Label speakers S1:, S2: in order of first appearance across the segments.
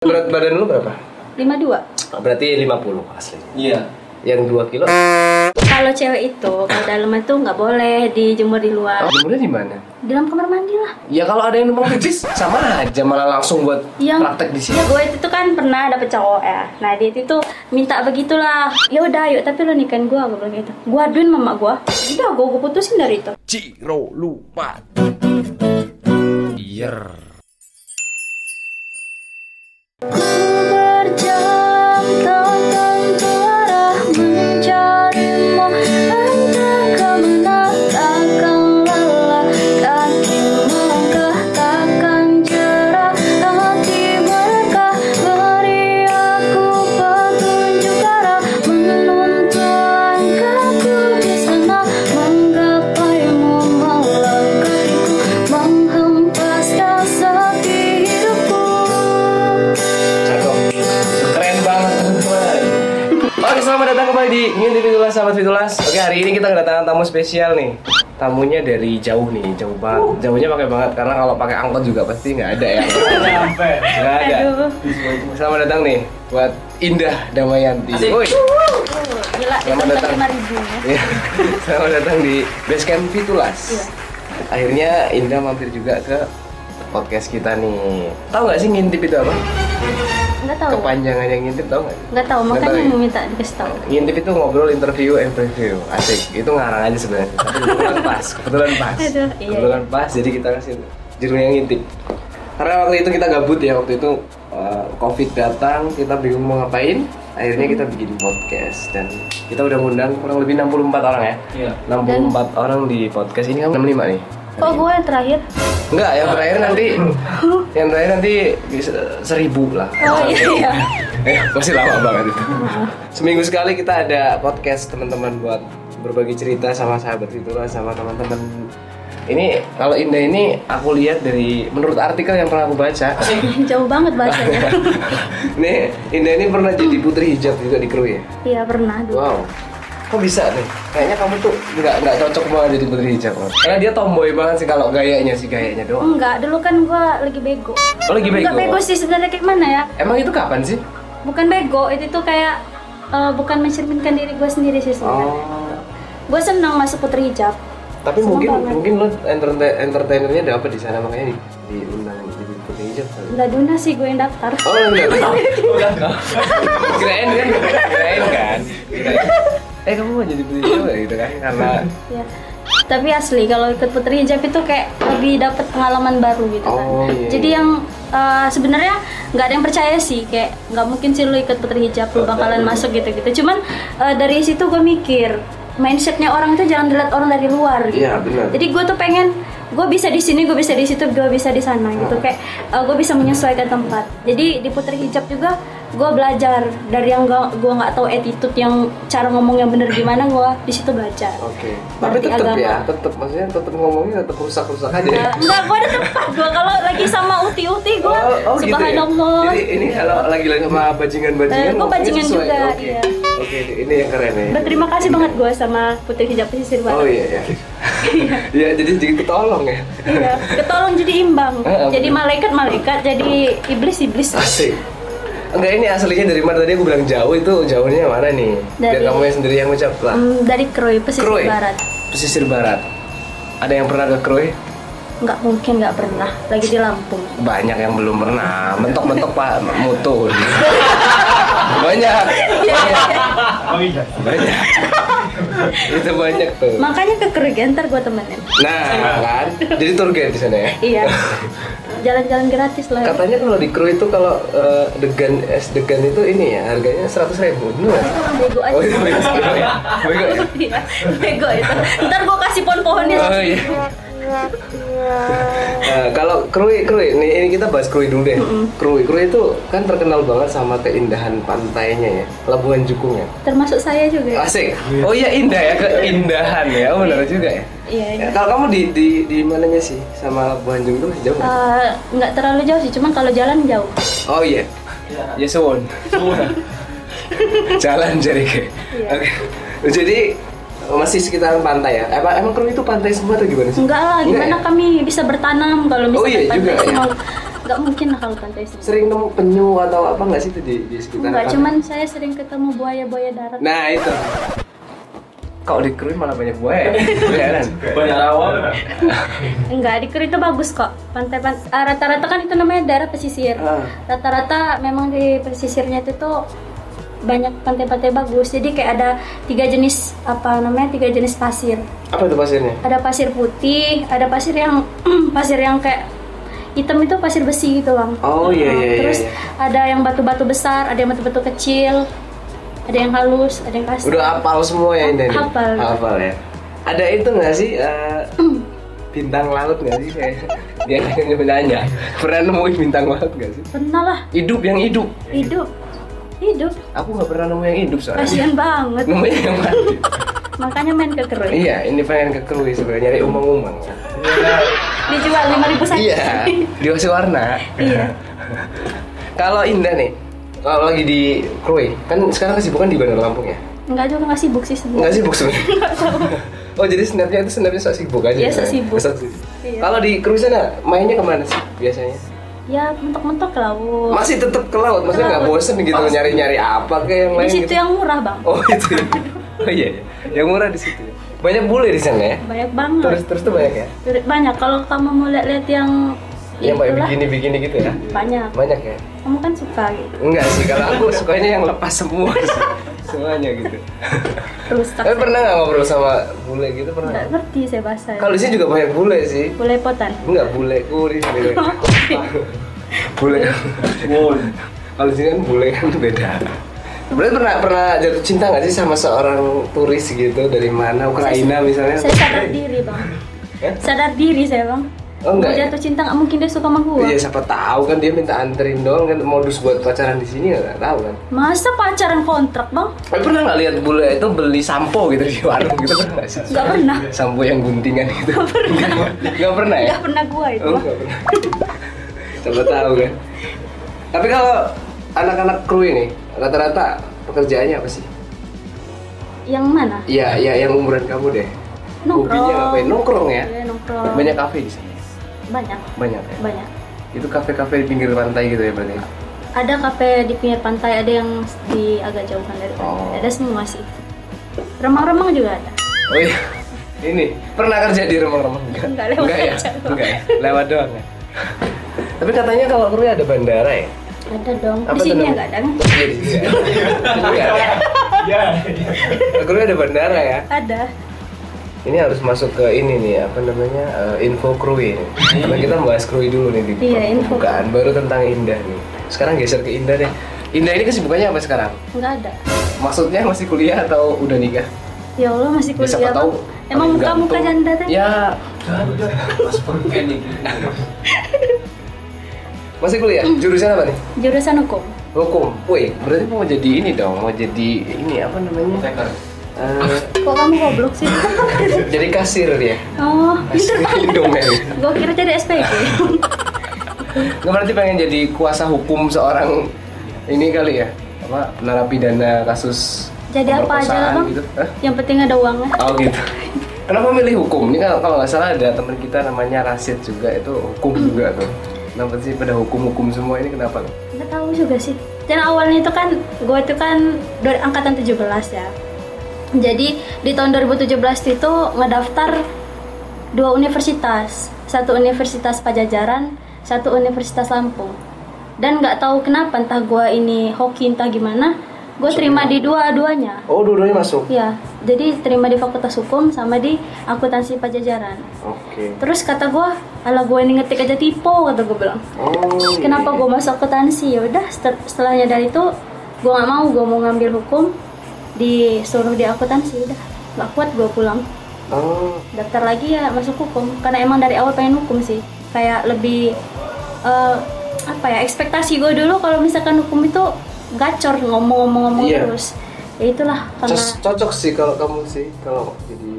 S1: Berat badan lu berapa?
S2: 52
S1: Berarti 50 asli.
S3: Iya.
S1: Yang 2 kilo.
S2: Kalau cewek itu kalau dalam itu nggak boleh dijemur di luar
S1: Jemurnya di mana?
S2: Di dalam kamar mandi lah
S1: Ya kalau ada yang numpang pipis sama aja malah langsung buat
S2: yang
S1: praktek di sini.
S2: Ya, gue itu tuh kan pernah dapet cowok ya nah dia itu tuh minta begitulah ya udah yuk tapi lo nikahin gue gue bilang gitu gue aduin mama gue udah gue gue putusin dari itu
S1: Ciro lupa. Iya. Yer.
S4: Menghempaskan sepi hidupku
S1: Cakep. Keren banget teman-teman. Oke, selamat datang kembali di Ngintip Fitulas, sahabat Fitulas. Oke, hari ini kita kedatangan tamu spesial nih. Tamunya dari jauh nih, jauh banget. Jauhnya pakai banget karena kalau pakai angkot juga pasti nggak ada ya.
S3: Sampai.
S1: Nggak ada.
S2: aduh
S1: Selamat datang nih buat Indah Damayanti.
S3: Asik.
S1: Woi.
S2: gila
S1: Selamat
S2: itu
S1: datang.
S2: 5000 ya
S1: Iya. Selamat datang di Basecamp Fitulas. Akhirnya Indah mampir juga ke podcast kita nih. Tahu nggak sih ngintip itu apa?
S2: nggak tahu
S1: Kepanjangannya ngintip tahu nggak?
S2: nggak tahu
S1: Nggak
S2: makanya
S1: tahu ya?
S2: mau minta dikasih tahu
S1: Ngintip itu ngobrol, interview, and preview. Asik. Itu ngarang aja sebenarnya. Tapi Kebetulan pas. Kebetulan pas.
S2: Aduh, iya,
S1: kebetulan pas. Jadi kita kasih judulnya ngintip. Karena waktu itu kita gabut ya. Waktu itu uh, covid datang, kita bingung mau ngapain. Akhirnya kita bikin podcast dan kita udah ngundang kurang lebih 64 orang ya.
S3: Iya.
S1: 64 orang di podcast ini kamu 65 nih.
S2: kok gue yang terakhir
S1: Enggak, yang terakhir nanti yang terakhir nanti bisa- seribu lah.
S2: oh iya iya
S1: Eh, masih lama banget itu. Seminggu sekali kita ada podcast teman-teman buat berbagi cerita sama sahabat itulah sama teman-teman. Ini kalau Indah ini aku lihat dari menurut artikel yang pernah aku baca.
S2: jauh banget bahasanya
S1: Nih, Indah ini pernah jadi putri hijab juga di kru ya.
S2: iya pernah dulu
S1: Wow. Kok bisa nih? Kayaknya kamu tuh nggak nggak cocok banget jadi putri hijab. Mas. Karena dia tomboy banget sih kalau gayanya sih gayanya doang.
S2: Enggak, dulu kan gue lagi bego.
S1: Oh, lagi
S2: Enggak
S1: bego.
S2: bego sih sebenarnya kayak mana ya?
S1: Emang itu kapan sih?
S2: Bukan bego, itu tuh kayak eh, bukan mencerminkan diri gue sendiri sih sebenarnya.
S1: Oh.
S2: Gue senang masuk putri hijab.
S1: Tapi
S2: Seneng
S1: mungkin
S2: banget.
S1: mungkin lo enter- entertainernya dapat di sana makanya di, diundang jadi putri hijab kali.
S2: Enggak duna sih gue yang daftar.
S1: Oh enggak tahu. Kirain kan, kirain kan. Kirain. Eh kamu mau jadi putri hijab nggak gitu kan? Karena
S2: Ya. Tapi asli kalau ikut putri hijab itu kayak lebih dapet pengalaman baru gitu kan.
S1: Oh, iya,
S2: Jadi
S1: iya.
S2: yang eh, sebenarnya nggak ada yang percaya sih kayak nggak mungkin sih lu ikut putri hijab lu bakalan masuk gitu-gitu. Cuman eh, dari situ gue mikir mindsetnya orang itu jangan dilihat orang dari luar. Gitu.
S1: iya benar.
S2: Jadi gue tuh pengen gue bisa di sini, gue bisa di situ, gue bisa di sana gitu
S1: Nah.
S2: kayak gue bisa menyesuaikan tempat. Jadi di putri hijab juga gue belajar dari yang gue gue nggak tahu attitude yang cara ngomong yang bener gimana gue di situ belajar.
S1: Oke. Tapi
S2: Berarti
S1: tetap
S2: agama.
S1: ya, tetap maksudnya tetap ngomongnya tetap rusak-rusak aja. ya?
S2: Nggak, Nggak, gue Nah, ada tempat gue kalau lagi sama uti-uti gue
S1: Oh, oh gitu ya?
S2: subhanallah.
S1: Jadi ini kalau lagi lagi sama
S2: Eh,
S1: bajingan-bajingan
S2: gua
S1: ngomongnya
S2: bajingan
S1: sesuai.
S2: juga,
S1: Oke.
S2: iya.
S1: Oke, ini yang keren ya.
S2: Berterima kasih banget gue sama putri hijab
S1: Oh
S2: pesisir banget.
S1: iya ya. Iya, jadi jadi ketolong ya.
S2: Iya, ketolong jadi imbang.
S1: Eh,
S2: jadi
S1: bener.
S2: malaikat-malaikat, jadi iblis-iblis.
S1: Asik. Enggak ini aslinya dari mana tadi aku bilang jauh itu jauhnya mana nih? Biar
S2: Dari-
S1: kamu yang sendiri yang ngucap lah.
S2: Hmm, dari Kroy pesisir
S1: Kroy.
S2: barat.
S1: Pesisir barat. Ada yang pernah ke Kroy?
S2: Nggak mungkin nggak pernah. Lagi di Lampung.
S1: Banyak yang belum pernah. Mentok-mentok Pak Mutun. banyak.
S2: Iya,
S1: Banyak.
S3: Oh iya.
S1: Banyak. itu banyak tuh.
S2: Makanya ke Kerugian ntar gue temenin.
S1: Nah, kan. Jadi tour guide di sana ya.
S2: Iya. Jalan-jalan gratis lah.
S1: Katanya kalau di kru itu kalau eh, degan es degan itu ini ya harganya seratus ribu, benar?
S2: Itu kan bego aja.
S1: Oh itu bego bego ya, bego ya.
S2: Iya, bego itu. Ntar gue kasih pohon-pohonnya.
S1: Oh iya. Eh, kalau krui krui ini, ini kita bahas krui dulu deh. Krui krui itu kan terkenal banget sama keindahan pantainya ya, Labuan Jukung ya.
S2: Termasuk saya juga.
S1: Asik. Oh iya indah ya keindahan ya, oh, benar juga ya.
S2: Iya. iya.
S1: Ya, kalau kamu di di di mananya sih sama Labuan Jukung jauh? nggak?
S2: Eh, nggak terlalu jauh sih, cuman kalau jalan jauh.
S1: Oh iya. Ya suwun. Jalan jadi ke.
S2: Iya.
S1: Oke. Jadi masih sekitaran pantai ya. Apa emang krui itu pantai semua atau gimana sih?
S2: Enggak lah,
S1: Enggak
S2: gimana
S1: ya?
S2: kami bisa bertanam kalau
S1: Oh,
S2: misalnya
S1: iya juga,
S2: pantai
S1: iya.
S2: semau. nggak mungkin lah kalau pantai sini.
S1: Sering nemu penyu atau apa nggak sih itu di, di sekitar?
S2: Enggak,
S1: pantai?
S2: cuman saya sering ketemu buaya-buaya darat.
S1: Nah itu. Kalau di Krui malah banyak buaya. Iya kan? Beneran.
S5: Banyak rawon.
S2: Enggak, di Kuri itu bagus kok. Pantai pan- ah, rata-rata kan itu namanya daerah pesisir.
S1: Ah.
S2: Rata-rata memang di pesisirnya itu tuh banyak pantai-pantai bagus. Jadi kayak ada tiga jenis apa namanya? Tiga jenis pasir.
S1: Apa itu pasirnya?
S2: Ada pasir putih, ada pasir yang pasir yang kayak hitam itu pasir besi gitu, Bang.
S1: Oh iya iya iya.
S2: Terus
S1: iya.
S2: ada yang batu-batu besar, ada yang batu-batu kecil, ada yang halus, ada yang kasar.
S1: Udah hafal semua ya ini. nih?
S2: Hafal.
S1: Hafal ya. Ada itu nggak sih eh, bintang laut nggak sih kayak dia nanya nanya pernah nemuin bintang laut nggak sih?
S2: Pernah lah
S1: Hidup yang hidup.
S2: hidup, hidup.
S1: Aku nggak pernah nemu yang hidup soalnya.
S2: Kasian banget.
S1: Nemuin yang mati.
S2: Makanya main ke kerui.
S1: iya, ini pengen ke Krui sebenarnya nyari umang-umang.
S2: Dijual 5000 saja.
S1: Iya, di Osi Warna. Iya. Kalau Indah nih, kalau lagi di Krui, kan sekarang kesibukan di Bandar Lampung ya?
S2: Enggak juga enggak sibuk sih
S1: Nggak
S2: sebenarnya.
S1: sibuk sebenarnya. Oh jadi snapnya itu snapnya sok sibuk aja?
S2: Iya,
S1: gitu
S2: sok
S1: ya?
S2: sibuk.
S1: Sok sibuk.
S2: Iya.
S1: Kalau di Krui sana mainnya kemana sih biasanya?
S2: Ya mentok-mentok laut.
S1: Masih tetap ke laut, maksudnya nggak
S2: laut.
S1: bosen gitu nyari-nyari apa kayak yang
S2: Di
S1: lain
S2: situ
S1: gitu?
S2: yang murah, Bang.
S1: Oh itu. ya. Oh iya, iya. yang murah di situ. ya. Banyak bule di sana ya?
S2: Banyak banget.
S1: Terus terus tuh banyak ya?
S2: Tur- banyak kalau kamu mau lihat-lihat yang
S1: Yang kayak
S2: itulah, Hmm.
S1: begini-begini gitu ya?
S2: banyak.
S1: Banyak ya?
S2: Kamu kan suka gitu.
S1: Enggak sih, kalau aku sukanya yang lepas semua sih. Semuanya gitu
S2: Rusak.
S1: Tapi pernah nggak ngobrol sama bule gitu? Pernah?
S2: Enggak
S1: nggak?
S2: ngerti saya bahasa. ya.
S1: Kalau di sini juga banyak bule sih
S2: Boleh potan.
S1: Enggak, bule kuris bule Bule kan. Kalau di sini kan bule kan beda Berarti pernah pernah jatuh cinta nggak sih sama seorang turis gitu dari mana Ukraina misalnya?
S2: Saya sadar diri, Bang.
S1: Eh?
S2: Sadar diri saya, Bang.
S1: Oh, enggak
S2: Mau
S1: ya?
S2: jatuh cinta nggak mungkin dia suka sama gua.
S1: Iya siapa tahu kan dia minta anterin doang kan modus buat pacaran di sini nggak tahu kan?
S2: Masa pacaran kontrak, Bang?
S1: Tapi pernah nggak lihat bule itu beli sampo gitu di warung gitu pernah nggak sih?
S2: Enggak pernah.
S1: sampo yang guntingan gitu nggak pernah nggak pernah ya
S2: Enggak pernah gua itu.
S1: oh
S2: Bang.
S1: nggak pernah siapa tahu kan tapi kalau anak-anak kru ini rata-rata pekerjaannya apa sih
S2: Yang mana?
S1: ya ya yang umuran kamu deh hobinya ngapain nongkrong ya
S2: Iya, nongkrong.
S1: banyak kafe di sini
S2: banyak
S1: banyak ya
S2: banyak
S1: itu kafe-kafe di pinggir pantai gitu ya berarti
S2: ada kafe di pinggir pantai ada yang di agak jauhan dari pantai
S1: Oh.
S2: ada semua sih remang-remang juga ada
S1: oh iya ini pernah kerja di remang-remang enggak
S2: Enggak, lewat
S1: ya
S2: aja.
S1: enggak ya lewat doang ya tapi katanya kalau kru ada bandara ya
S2: ada dong
S1: Apa
S2: di sini
S1: tuh
S2: agak ada kan?
S1: Iya, di sini ada. Iya.
S3: Iya.
S1: Aku ada bandara ya.
S2: ada
S1: Ini harus masuk ke ini nih apa namanya eh, info krui. ini. Karena kita bahas krui dulu nih di
S2: Iya, info.
S1: pembukaan. Baru tentang Indah nih. Sekarang geser ke Indah deh. Indah ini kesibukannya apa sekarang?
S2: nggak ada
S1: Maksudnya masih kuliah atau udah nikah?
S2: ya allah masih
S1: Ya,
S2: kuliah
S1: siapa
S2: Bang.
S1: tahu.
S2: emang
S1: paling
S2: muka muka
S1: gantung.
S2: janda teh
S1: Ya,
S5: Mas pengen nih.
S1: masih kuliah.
S2: Hmm.
S1: Jurusan apa nih?
S2: jurusan hukum
S1: Hukum. Woi, berarti mau jadi ini dong, mau jadi ini apa namanya?
S5: Teker.
S1: Eh,
S2: kok kamu goblok sih
S1: jadi kasir dia.
S2: oh
S1: Kasir Indomie.
S2: gue kira jadi SPG
S1: Nggak berarti pengen jadi kuasa hukum seorang ini kali ya apa narapidana kasus
S2: jadi apa aja lah
S1: pemerkosaan
S2: bang
S1: gitu. Hah?
S2: yang penting ada uangnya
S1: Oh gitu. Kenapa milih hukum? Ini kalau kalau nggak salah ada teman kita namanya Rasid juga itu hukum juga tuh. Kenapa sih pada hukum-hukum semua ini kenapa? tuh?
S2: nggak tahu juga sih dan awalnya itu kan gue itu kan dari angkatan 17 ya jadi di tahun 2017 itu ngedaftar dua universitas satu universitas Pajajaran satu universitas Lampung dan nggak tahu kenapa entah gue ini hoki entah gimana gue terima di dua-duanya
S1: Oh dua-duanya masuk.
S2: ya jadi terima di Fakultas Hukum sama di akuntansi Pajajaran
S1: Oke.
S2: terus kata gue ala gue ini ngetik aja tipu kata gue bilang
S1: Oh. iya.
S2: kenapa gue masuk akuntansi ya udah setel- setelah nyadar itu gue nggak mau gue mau ngambil hukum disuruh di akuntansi udah nggak kuat gue pulang
S1: Oh.
S2: daftar lagi ya masuk hukum karena emang dari awal pengen hukum sih kayak lebih eh, apa ya ekspektasi gue dulu kalau misalkan hukum itu gacor ngomong-ngomong-ngomong
S1: Iya.
S2: terus ya itulah karena
S1: Cos- cocok sih kalau kamu sih kalau jadi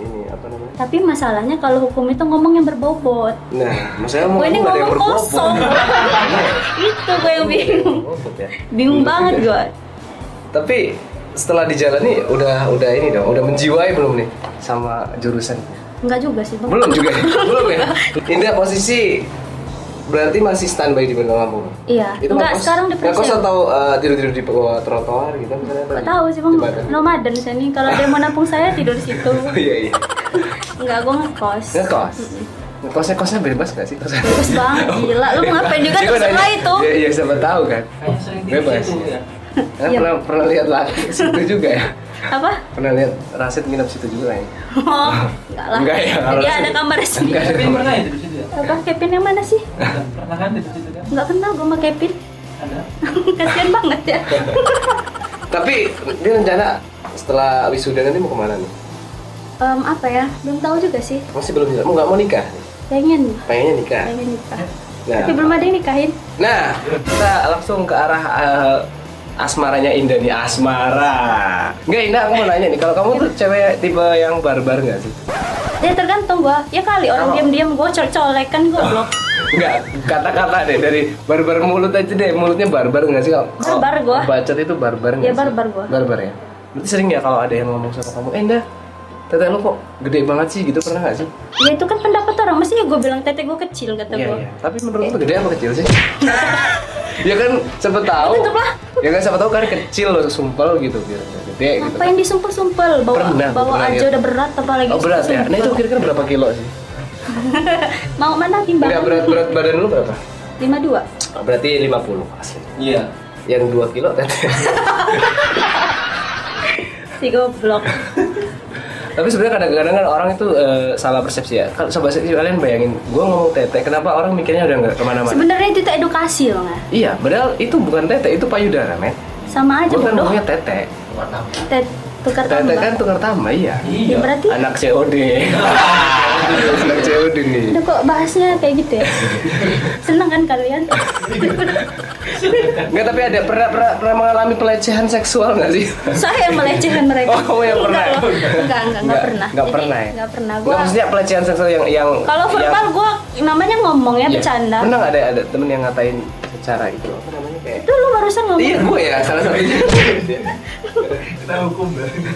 S1: ini apa namanya?
S2: tapi masalahnya kalau hukum itu ngomong yang berbobot
S1: Nah, maksudnya mau
S2: gue ini
S1: nggak ada yang
S2: ngomong
S1: berbobot.
S2: kosong itu gue yang bingung
S1: Berbobot ya.
S2: bingung banget gue
S1: Tapi setelah dijalani udah udah ini dong, udah menjiwai belum nih sama jurusan?
S2: nggak juga sih bang
S1: Belum juga ya? belum ya. Indah posisi berarti masih standby di belakang kampung?
S2: Iya. Enggak,
S1: ngekos?
S2: sekarang di
S1: Ngekos
S2: Persib.
S1: atau eh, tidur-tidur di bawah trotoar gitu misalnya? apa?
S2: Gak tahu sih bang,
S1: Jembatan.
S2: nomaden saya nih. Kalau dia mau nampung saya tidur di situ.
S1: Oh iya iya.
S2: Enggak, gue ngekos.
S1: Ngekos. Ngekosnya kosnya bebas nggak sih? Kosnya.
S2: Terus bang, gila lu mau ngapain juga
S1: Iya, gua
S2: terserah
S1: Oh. nanya.
S2: itu.
S1: Iya iya siapa tahu kan.
S5: Kayaknya sering di
S1: Bebas.
S5: situ ya.
S1: Kan
S2: Iya.
S1: pernah pernah lihat laki situ juga ya.
S2: Apa?
S1: Pernah lihat Rasid nginep situ juga ya.
S2: Oh, enggak lah.
S1: Enggak ya,
S2: Dia
S1: alasan.
S2: ada kamar resmi.
S1: Enggak.
S5: Tapi pernah ya di situ ya?
S2: Apa Kevin yang mana sih?
S5: Pernah kan di situ kan?
S2: Enggak kenal gue sama Kevin.
S5: Ada.
S2: Kasian banget ya.
S1: Tapi dia rencana setelah wisuda nanti mau kemana nih?
S2: Em, apa ya? Belum tahu juga sih.
S1: Masih belum jelas. Mau nggak mau nikah?
S2: Pengen,
S1: Pengennya nikah.
S2: pengen nikah.
S1: Nah,
S2: Tapi belum ada yang nikahin.
S1: Nah, kita langsung ke arah eh, asmaranya Indah nih, asmara. Enggak, Indah, aku mau nanya nih, kalau kamu tuh cewek tipe yang barbar nggak sih?
S2: Ya tergantung gua. Ya kali orang
S1: Kalau-
S2: diam-diam gua colek-colek kan goblok.
S1: Enggak, kata-kata deh dari barbar mulut aja deh, mulutnya barbar nggak sih kalau? kalau
S2: Barbar gua.
S1: Bacot itu barbar nggak
S2: Ya,
S1: sih?
S2: barbar gua.
S1: Barbar ya. Berarti sering ya kalau ada yang ngomong sama kamu, eh Indah, teteh lu kok gede banget sih gitu pernah nggak sih?
S2: Ya itu kan pendapat orang. Mestinya gua bilang tete gua kecil kata gua.
S1: Iya, Tapi menurut lu gede apa kecil sih? ya kan siapa tahu.
S2: Tutup lah.
S1: Ya kan siapa tahu kan kecil loh, sumpel gitu biar nggak gede gitu.
S2: Ngapain disumpel-sumpel? Bawa
S1: Pernah,
S2: bawa
S1: pernah,
S2: aja
S1: ya.
S2: udah berat apalagi
S1: Oh berat ya? Nah itu
S2: disumpel-sumpel.
S1: kira-kira berapa kilo sih?
S2: Mau mana
S1: Enggak
S2: timbangan?
S1: berat berat badan lu berapa?
S2: 52.
S1: Berarti 50 asli.
S5: Iya.
S1: Yang 2 kilo kan? teteh.
S2: Si goblok.
S1: Tapi sebenarnya kadang-kadang kan orang itu eh, salah persepsi ya. Kalau sobat seksi kalian bayangin, gua ngomong teteh, kenapa orang mikirnya udah nggak kemana-mana?
S2: Sebenarnya itu tuh edukasi loh nggak?
S1: Iya, padahal itu bukan teteh, itu payudara, men.
S2: Sama aja
S1: Gua kan
S2: bodoh.
S1: ngomongnya teteh.
S5: Warna apa?
S2: Tet tukar
S1: Teteh
S2: tambah.
S1: kan tukar tambah, iya.
S2: Ya,
S5: Iya.
S2: berarti
S1: Anak COD. Anak COD nih.
S2: udah kok bahasnya kayak gitu ya. Seneng kan kalian?
S1: Nggak, tapi ada pernah, pernah, pernah mengalami pelecehan seksual nggak sih?
S2: Saya yang melecehkan mereka.
S1: Oh, kamu yang pernah.
S2: Enggak, loh. enggak, enggak, enggak pernah.
S1: Nggak
S2: Jadi,
S1: pernah ya?
S2: Enggak pernah.
S1: Nggak,
S2: Gua
S1: maksudnya pelecehan seksual yang... yang
S2: kalau
S1: yang-
S2: verbal gua namanya ngomong ya
S1: Iya.
S2: bercanda.
S1: Pernah nggak ada ada temen yang ngatain secara itu apa namanya kayak?
S2: Itu lu barusan ngomong.
S1: Iya gue ya salah satunya.
S3: Kita hukum deh.
S5: Iya.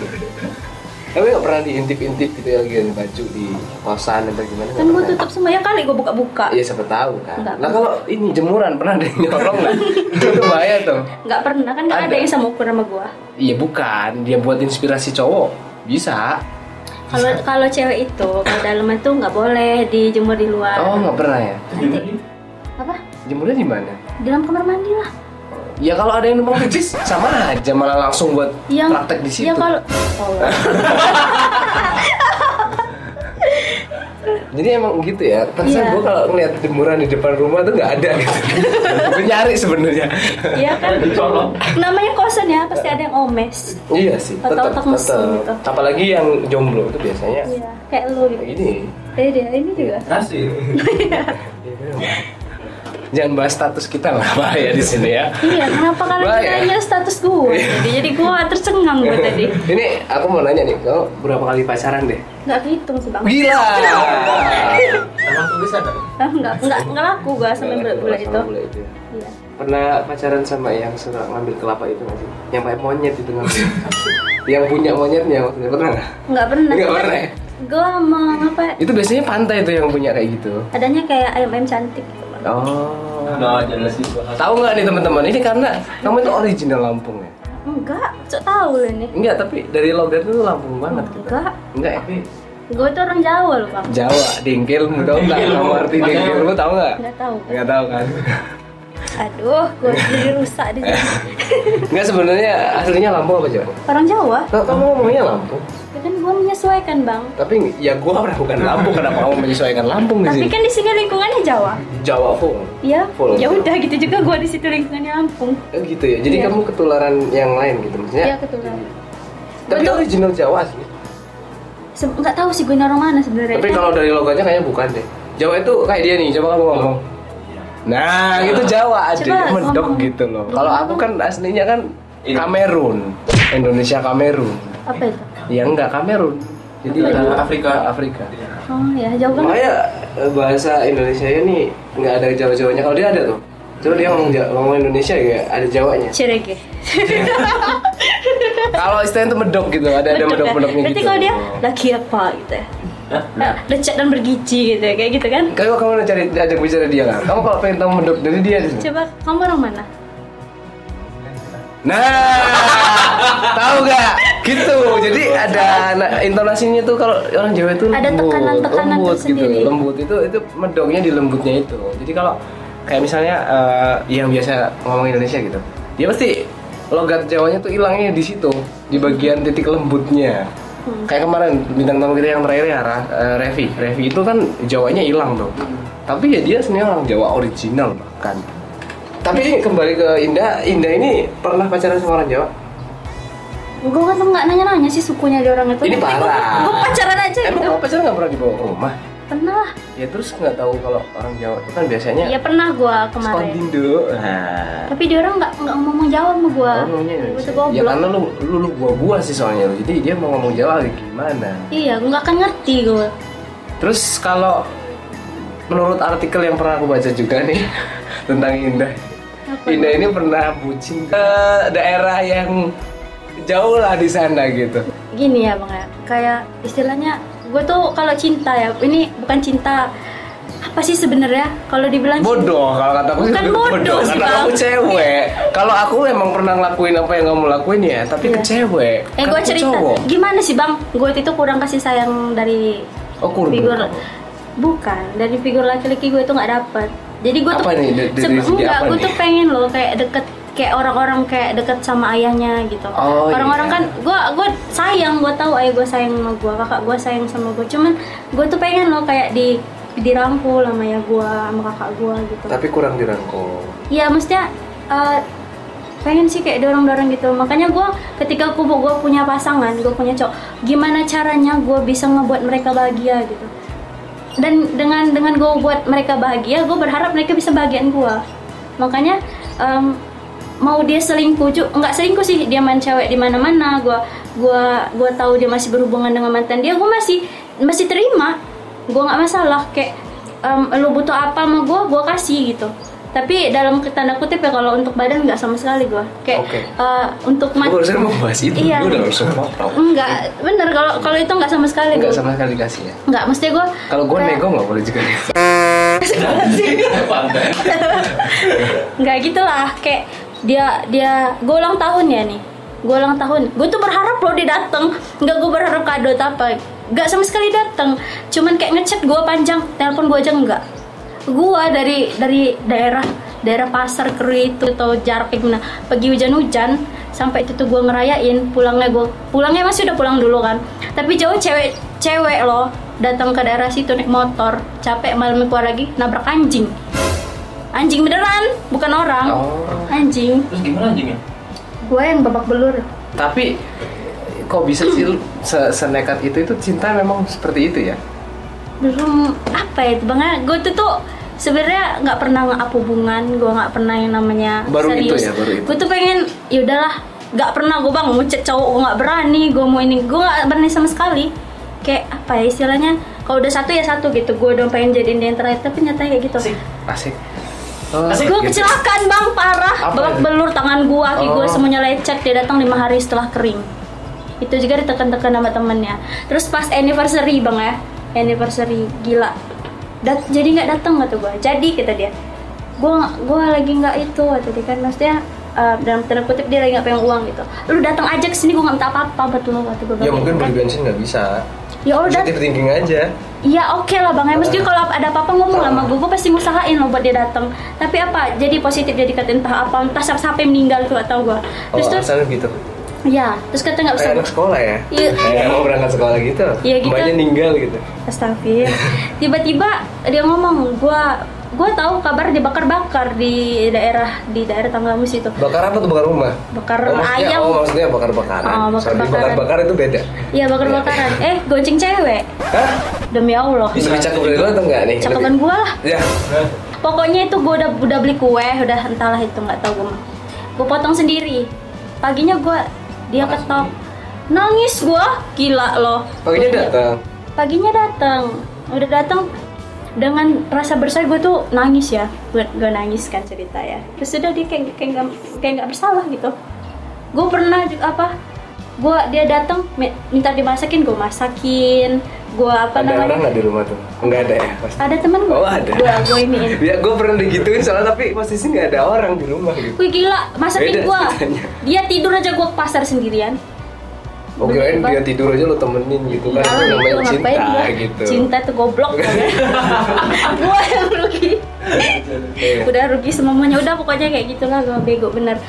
S1: Tapi nggak pernah diintip-intip gitu ya bagian baju di kosan atau gimana? nggak
S2: Kan gua
S1: pernah.
S2: tutup semua ya kali gua buka-buka.
S1: Iya siapa tahu kan.
S2: Nggak.
S1: Nah kalau ini jemuran pernah ada yang nyorong nggak? itu bahaya tuh.
S2: Enggak pernah kan enggak ada.
S1: Ada.
S2: yang sama ukuran sama gua.
S1: Iya bukan dia buat inspirasi cowok bisa.
S2: Kalau kalau cewek itu kalau daleman tuh nggak boleh dijemur di luar.
S1: Oh nggak pernah ya?
S2: Apa?
S1: Jemurnya di mana?
S2: Di dalam kamar mandi lah.
S1: Ya kalau ada yang numpang pipis sama aja malah langsung buat
S2: yang
S1: praktek di situ.
S2: Ya kalau Allah.
S1: Jadi emang gitu ya. Perasaan
S2: Iya.
S1: gue kalau ngeliat jemuran di depan rumah tuh nggak ada gitu. gue nyari sebenarnya.
S2: Iya kan
S5: Dicolok.
S2: namanya kosan ya pasti ada yang omes.
S1: iya sih.
S2: Atau
S1: Tetap,
S2: otak mesin gitu.
S1: tetap. Apalagi yang jomblo itu biasanya
S2: Iya, kayak lu
S1: kayak
S2: gitu.
S1: gini.
S2: Eh dia ini juga.
S5: Nasi.
S1: Jangan bahas status kita lah bahaya di sini ya.
S2: Iya, kenapa kalian
S1: Bahaya.
S2: nanya status gue?
S1: Iya.
S2: Jadi jadi gue tercengang gue tadi.
S1: Ini aku mau nanya nih, kau berapa kali pacaran deh?
S2: Nggak hitung sih bang.
S1: Gila.
S5: Sama tulisan kan?
S2: Ah, Nggak nggak nggak laku gue sampai bulan-bulan itu.
S1: Sama bulan itu ya.
S2: Iya.
S1: Pernah pacaran sama yang suka ngambil kelapa itu nggak sih? Yang pakai monyet itu ngambil. yang punya monyetnya maksudnya pernah nggak?
S2: Nggak pernah.
S1: Nggak pernah ya?
S2: Gue sama apa? ya?
S1: Itu biasanya pantai tuh yang punya kayak gitu.
S2: Adanya kayak ayam ayam cantik. gitu, Bang.
S1: Oh.
S5: Nah, jelas sih bahasa.
S1: Tahu nggak nih teman-teman? Ini karena kamu itu original Lampung ya.
S2: Enggak, cok tahu lu ini.
S1: Enggak, tapi dari logat itu Lampung banget gitu.
S2: Enggak,
S1: Enggak ya?
S5: Tapi
S2: gue tuh orang Jawa loh bang.
S1: Jawa, dengkilmu tau nggak? Kamu arti dengkilmu tau nggak?
S2: Nggak tahu.
S1: Nggak tahu kan?
S2: Aduh, gue jadi rusak di sini.
S1: Enggak sebenarnya aslinya Lampung apa Jawa?
S2: Orang Jawa,
S1: Kok kamu ngomongnya Lampung?
S2: ya kan gue menyesuaikan bang.
S1: Tapi ya gua pernah bukan Lampung, kenapa kamu menyesuaikan Lampung di
S2: Tapi
S1: sini?
S2: kan di sini lingkungannya Jawa.
S1: Jawa full.
S2: Iya.
S1: Full.
S2: Ya udah gitu juga gue di situ lingkungannya Lampung.
S1: Kan gitu ya. Jadi
S2: Iya.
S1: kamu ketularan yang lain gitu maksudnya.
S2: Iya ketularan.
S1: Tapi
S2: Betul.
S1: original Jawa asli.
S2: Se- Nggak tahu sih gue ini orang mana sebenarnya.
S1: Tapi kalau dari logatnya kayaknya bukan deh. Jawa itu kayak dia nih, coba kamu ngomong. Nah, itu Jawa aja
S2: Coba
S1: mendok
S2: ngomong.
S1: gitu loh. Kalau aku kan aslinya kan
S5: Ini.
S1: Kamerun. Indonesia Kamerun.
S2: apa itu?
S1: Ya enggak Kamerun. Jadi
S5: Ada
S1: Jawa-
S5: Afrika.
S1: Afrika. Iya.
S2: Oh ya jauh banget.
S1: Makanya eh, bahasa Indonesia ini nggak ada Jawa-Jawanya. Kalau dia ada tuh. Coba dia ngomong, Jawa- ngomong Indonesia ya ada Jawanya.
S2: Cirege.
S1: Kalau istilahnya itu medok gitu, ada ada
S2: Betul, kan?
S1: medok-medoknya gitu.
S2: Berarti kalau dia laki apa gitu ya? Eh, Lecet dan bergici gitu kayak gitu kan.
S1: Kayak kamu mau cari ajak bicara dia kan? Kamu kalau pengen tahu mendok dari dia di sini.
S2: Coba kamu orang mana?
S1: Nah, tahu gak? Gitu. Jadi ada na- intonasinya tuh kalau orang Jawa itu
S2: Ada
S1: lembut,
S2: tekanan-tekanan
S1: lembut
S2: tersendiri.
S1: gitu. Lembut itu itu medoknya di lembutnya itu. Jadi kalau kayak misalnya eh, yang biasa ngomong Indonesia gitu, dia pasti logat Jawanya tuh hilangnya di situ, di bagian titik lembutnya.
S2: Hmm.
S1: Kayak kemarin bintang tamu kita yang terakhir ya, Ra- eh, Revi. Revi itu kan Jawanya hilang tuh.
S2: Hmm.
S1: Tapi ya dia sebenarnya orang Jawa original bahkan. Tapi kembali ke Indah, Indah ini pernah pacaran sama orang Jawa?
S2: Gue kan nggak nanya-nanya sih sukunya dia orang itu.
S1: Ini parah.
S2: Gue pacaran aja
S1: Emang
S2: gitu.
S1: kamu pacaran nggak pernah dibawa ke rumah?
S2: Pernah lah.
S1: Ya terus nggak tahu kalau orang Jawa itu kan biasanya
S2: Iya pernah gue kemarin. Iya.
S1: skondindo. Nah,
S2: Tapi dia orang nggak nggak ngomong Jawa sama gue.
S1: kamu maunya
S2: Gue
S1: Indonesia.
S2: tuh
S1: Ya
S2: goblok.
S1: karena lu lu, lu gua gua sih soalnya lu. Jadi dia mau ngomong Jawa kayak gimana?
S2: Iya, nggak akan ngerti gue.
S1: Terus kalau menurut artikel yang pernah aku baca juga nih tentang Indah. Indah ini pernah bucin ke daerah yang jauh lah di sana gitu.
S2: Gini ya bang ya, kayak istilahnya gue tuh kalau cinta ya, ini bukan cinta apa sih sebenarnya kalau dibilang cinta-
S1: bodoh kalau kata aku sih
S2: Kan Bukan bodoh sih,
S1: karena
S2: Bang.
S1: aku cewek kalau aku emang pernah ngelakuin apa yang kamu lakuin ya tapi ke
S2: Iya.
S1: cewek
S2: Eh
S1: Kan
S2: gue
S1: aku
S2: cerita,
S1: cowok.
S2: gimana sih bang? Gue itu kurang kasih sayang dari
S1: oh kurban
S2: figur bukan dari figur laki-laki gue itu nggak dapet jadi gue tuh
S1: Apa nih? Da- dari
S2: sebe-
S1: segi
S2: enggak,
S1: apa
S2: gue
S1: nih?
S2: tuh pengen loh kayak deket kayak orang-orang kayak deket sama ayahnya gitu
S1: Oh,
S2: orang-orang
S1: iya.
S2: kan gue gue sayang gue tahu ayah gue sayang sama gue kakak gue sayang sama gue cuman gue tuh pengen loh kayak di dirangkul sama ayah gue sama kakak gue gitu
S1: tapi kurang dirangkul
S2: Iya, maksudnya eh, pengen sih kayak dorong-dorong gitu. Makanya gue ketika aku gue punya pasangan, gue punya cowok, gimana caranya gue bisa ngebuat mereka bahagia gitu. Dan dengan dengan gue buat mereka bahagia, gue berharap mereka bisa bahagian gue. Makanya em, mau dia selingkuh juga nggak selingkuh sih dia main cewek di mana-mana gua gua gua tahu dia masih berhubungan dengan mantan dia gua masih masih terima gua nggak masalah kayak em, lu butuh apa sama gua gua kasih gitu tapi dalam tanda kutip ya kalau untuk badan nggak sama sekali gua kayak
S1: Oke.
S2: eh, untuk
S1: gue
S2: man
S1: barusan mau bahas itu
S2: Iya.
S1: gue udah langsung potong
S2: enggak bener kalau kalau itu nggak sama sekali
S1: nggak
S2: gua
S1: sama sekali dikasih ya
S2: nggak mesti gua
S1: kalau gue
S2: kayak-
S1: nego nggak boleh juga
S2: nggak gitulah kayak dia dia gue ulang tahun ya nih gue ulang tahun gue tuh berharap lo dia dateng nggak gue berharap kado atau apa nggak sama sekali dateng cuman kayak ngechat gue panjang telepon gue aja enggak gue dari dari daerah daerah pasar keri itu atau jarak kayak gimana pergi hujan-hujan sampai itu tuh gue ngerayain pulangnya gue pulangnya masih udah pulang dulu kan tapi jauh cewek cewek loh datang ke daerah situ naik motor capek malam keluar lagi nabrak anjing anjing beneran bukan orang
S1: Oh.
S2: anjing
S5: Terus gimana ya? anjingnya?
S2: gue yang babak belur
S1: tapi kok bisa sih lu se- senekat itu itu cinta memang seperti itu ya
S2: belum apa ya bang gue tuh tuh sebenarnya nggak pernah nge-up hubungan gue nggak pernah yang namanya
S1: Baru itu
S2: serius
S1: ya, baru itu.
S2: gue tuh pengen ya udahlah nggak pernah gue bang mau chat cowok gue nggak berani gue mau ini gue nggak berani sama sekali kayak apa ya istilahnya kalau udah satu ya satu gitu gue udah pengen jadiin dia yang terakhir tapi nyatanya kayak gitu
S1: asik Oh,
S2: gue
S1: gitu.
S2: kecelakaan bang parah
S1: Apa
S2: babak
S1: itu?
S2: belur tangan gue kaki gue
S1: Oh.
S2: semuanya lecet dia datang lima hari setelah kering itu juga ditekan-tekan sama temennya terus pas anniversary bang ya anniversary gila Dat- jadi nggak datang nggak tuh gue jadi kata dia gue gue lagi nggak itu atau dia kan maksudnya eh, dalam tanda kutip dia lagi nggak pengen uang gitu lu datang aja ke sini gue nggak minta apa-apa betul waktu gue
S1: ya mungkin beli bensin nggak bisa
S2: Kan? ya udah
S1: positif thinking aja
S2: Iya oke lah bang, Emus dia kalau ada apa-apa ngomong lah sama gue, gue pasti ngusahain loh buat dia datang. Tapi apa? Jadi positif jadi kata entah apa, entah siapa siapa yang meninggal tuh atau gue.
S1: oh
S2: Terus tuh,
S1: alasannya gitu
S2: ya, terus kata nggak bisa.
S1: kayak anak sekolah ya
S2: Iya.
S1: kayak mau berangkat sekolah gitu
S2: Iya, gitu.
S1: mbaknya ninggal gitu
S2: Astagfir. Tiba-tiba dia ngomong, gue gue tahu kabar dibakar-bakar di daerah di daerah Tanggamus itu.
S1: bakar apa tuh bakar rumah
S2: Bakar
S1: oh, maksudnya,
S2: ayam.
S1: oh maksudnya bakar bakaran
S2: Oh, bakar
S1: Sorry,
S2: bakaran.
S1: bakar bakar itu beda
S2: Iya bakar-bakaran. Eh gonceng cewek.
S1: hah
S2: Demi Allah.
S1: bisa cakep dari lu atau enggak nih
S2: Cakepan gue lah.
S1: ya
S2: Pokoknya itu gue udah udah beli kue, udah entahlah itu nggak tahu gue mah. Gue potong sendiri. Paginya gue dia ketok, nangis gue, gila loh.
S1: paginya
S2: Iya.
S1: datang
S2: Paginya datang, udah datang dengan rasa bersalah gue tuh nangis ya, gue, gue nangis kan cerita ya. Terus udah dia kayak kayak nggak kayak nggak bersalah gitu. Gue pernah juga apa? Gue dia datang mi- minta dimasakin, gue masakin. gue apa
S1: Ada orang
S2: namanya
S1: nggak di rumah tuh? Nggak ada ya pasti.
S2: ada temen gue
S1: Oh ada.
S2: gue gue iniin
S1: ya gue pernah digituin soalnya tapi posisi nggak ada orang di rumah gitu.
S2: Wih gila, masakin
S1: Beda
S2: gue
S1: ceritanya.
S2: Dia tidur aja gue ke pasar sendirian
S1: Oh kirain
S2: Beli
S1: dia
S2: bak-
S1: tidur aja lo temenin gitu kan itu
S2: Kalau
S1: namanya
S2: gitu ngapain
S1: cinta
S2: gua?
S1: gitu.
S2: Cinta tuh goblok Gue yang rugi
S1: Iya.
S2: Udah rugi semuanya, udah pokoknya kayak gitulah gue bego bener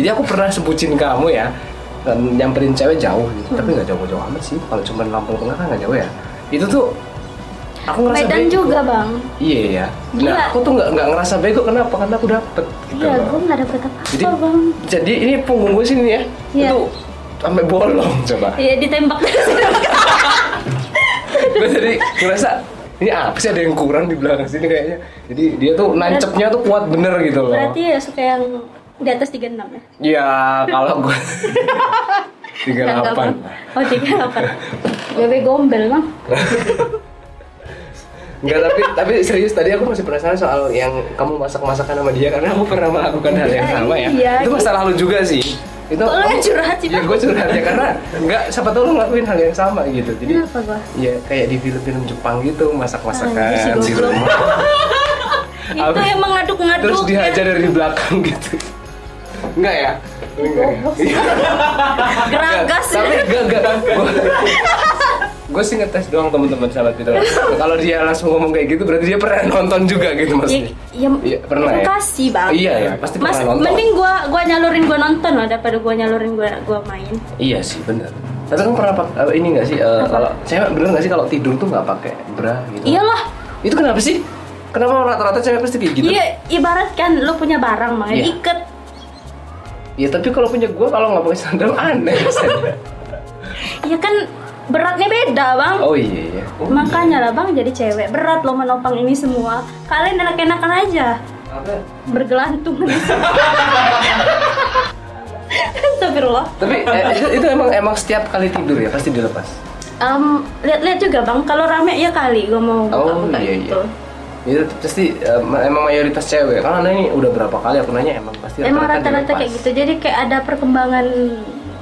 S1: Jadi aku pernah sebutin kamu ya dan nyamperin cewek jauh gitu.
S2: Hmm.
S1: Tapi nggak jauh-jauh amat sih. Kalau cuman Lampung Tengah kan nggak jauh ya. Itu tuh aku ngerasa
S2: Medan
S1: Oh, bego.
S2: juga bang
S1: Iya ya. Nah
S2: Gila.
S1: aku tuh nggak nggak ngerasa bego kenapa? Karena aku dapet. Gitu
S2: Iya
S1: loh.
S2: gue gak dapet
S1: Jadi
S2: apa-apa bang
S1: jadi ini punggung gue sini ya.
S2: Iya.
S1: Itu sampai bolong coba.
S2: Iya ditembak dari sini.
S1: Gue jadi ngerasa ini apa sih ada yang kurang di belakang sini kayaknya. Jadi dia tuh nancepnya tuh kuat bener gitu loh.
S2: Berarti ya suka yang di atas 36 ya?
S1: Ya kalau gue tiga
S2: Enggak, enggak,
S1: delapan.
S2: Bang. Oh 38 Bebe gombel bang
S1: Enggak tapi tapi serius tadi aku masih penasaran soal yang kamu masak masakan sama dia karena aku pernah melakukan hal yang sama ya.
S2: Iya,
S1: itu
S2: iya.
S1: masa lalu juga sih. Itu
S2: Kok lu yang curhat sih
S1: Ya
S2: bang?
S1: gue curhat ya karena enggak siapa tahu lu ngelakuin hal yang sama gitu. Jadi
S2: Kenapa gue?
S1: ya kayak di film-film Jepang gitu masak-masakan di
S2: Anjir Ah, iya sih, goblok.
S1: rumah.
S2: Itu
S1: Abis-
S2: emang ngaduk-ngaduk
S1: Terus
S2: ya.
S1: dihajar dari belakang gitu. Enggak ya? Enggak. ya?
S2: Goblok sih. Geragas ya.
S1: Tapi enggak enggak. Gue sih ngetes doang teman-teman sahabat itu. Kalau dia langsung ngomong kayak gitu berarti dia pernah nonton juga gitu maksudnya.
S2: Ya,
S1: Iya,
S2: ya,
S1: pernah ya?
S2: Kasih bang.
S1: Iya ya, pasti
S2: Mas,
S1: pernah nonton.
S2: mending gua gua nyalurin gua nonton loh daripada gua nyalurin gua gua main.
S1: Iya sih benar. Tapi kamu pernah pak- eh, ini nggak sih eh, kalau cewek bener nggak sih kalau tidur tuh nggak pakai bra gitu?
S2: Iyalah.
S1: Itu kenapa sih? Kenapa rata-rata cewek pasti kayak gitu?
S2: Iya, ibarat kan lu punya barang bang,
S1: Iya.
S2: iket.
S1: Ya tapi kalau punya gua kalau nggak pakai sandal aneh. rasanya.
S2: Iya kan beratnya beda bang.
S1: oh iya iya.
S2: Makanya lah bang jadi cewek berat lo menopang ini semua. Kalian enak-enakan aja
S1: Apa?
S2: bergelantung. Astagfirullah.
S1: Tapi eh, itu, itu emang emang setiap kali tidur ya pasti dilepas.
S2: Em, lihat-lihat juga bang, kalau rame ya kali gua mau
S1: Oh,
S2: buka-buka
S1: iya, iya.
S2: gitu.
S1: Itu pasti eh, emang mayoritas cewek. Karena ini udah berapa kali aku nanya emang pasti
S2: Emang rata-rata
S1: dilepas.
S2: kayak gitu, jadi kayak ada perkembangan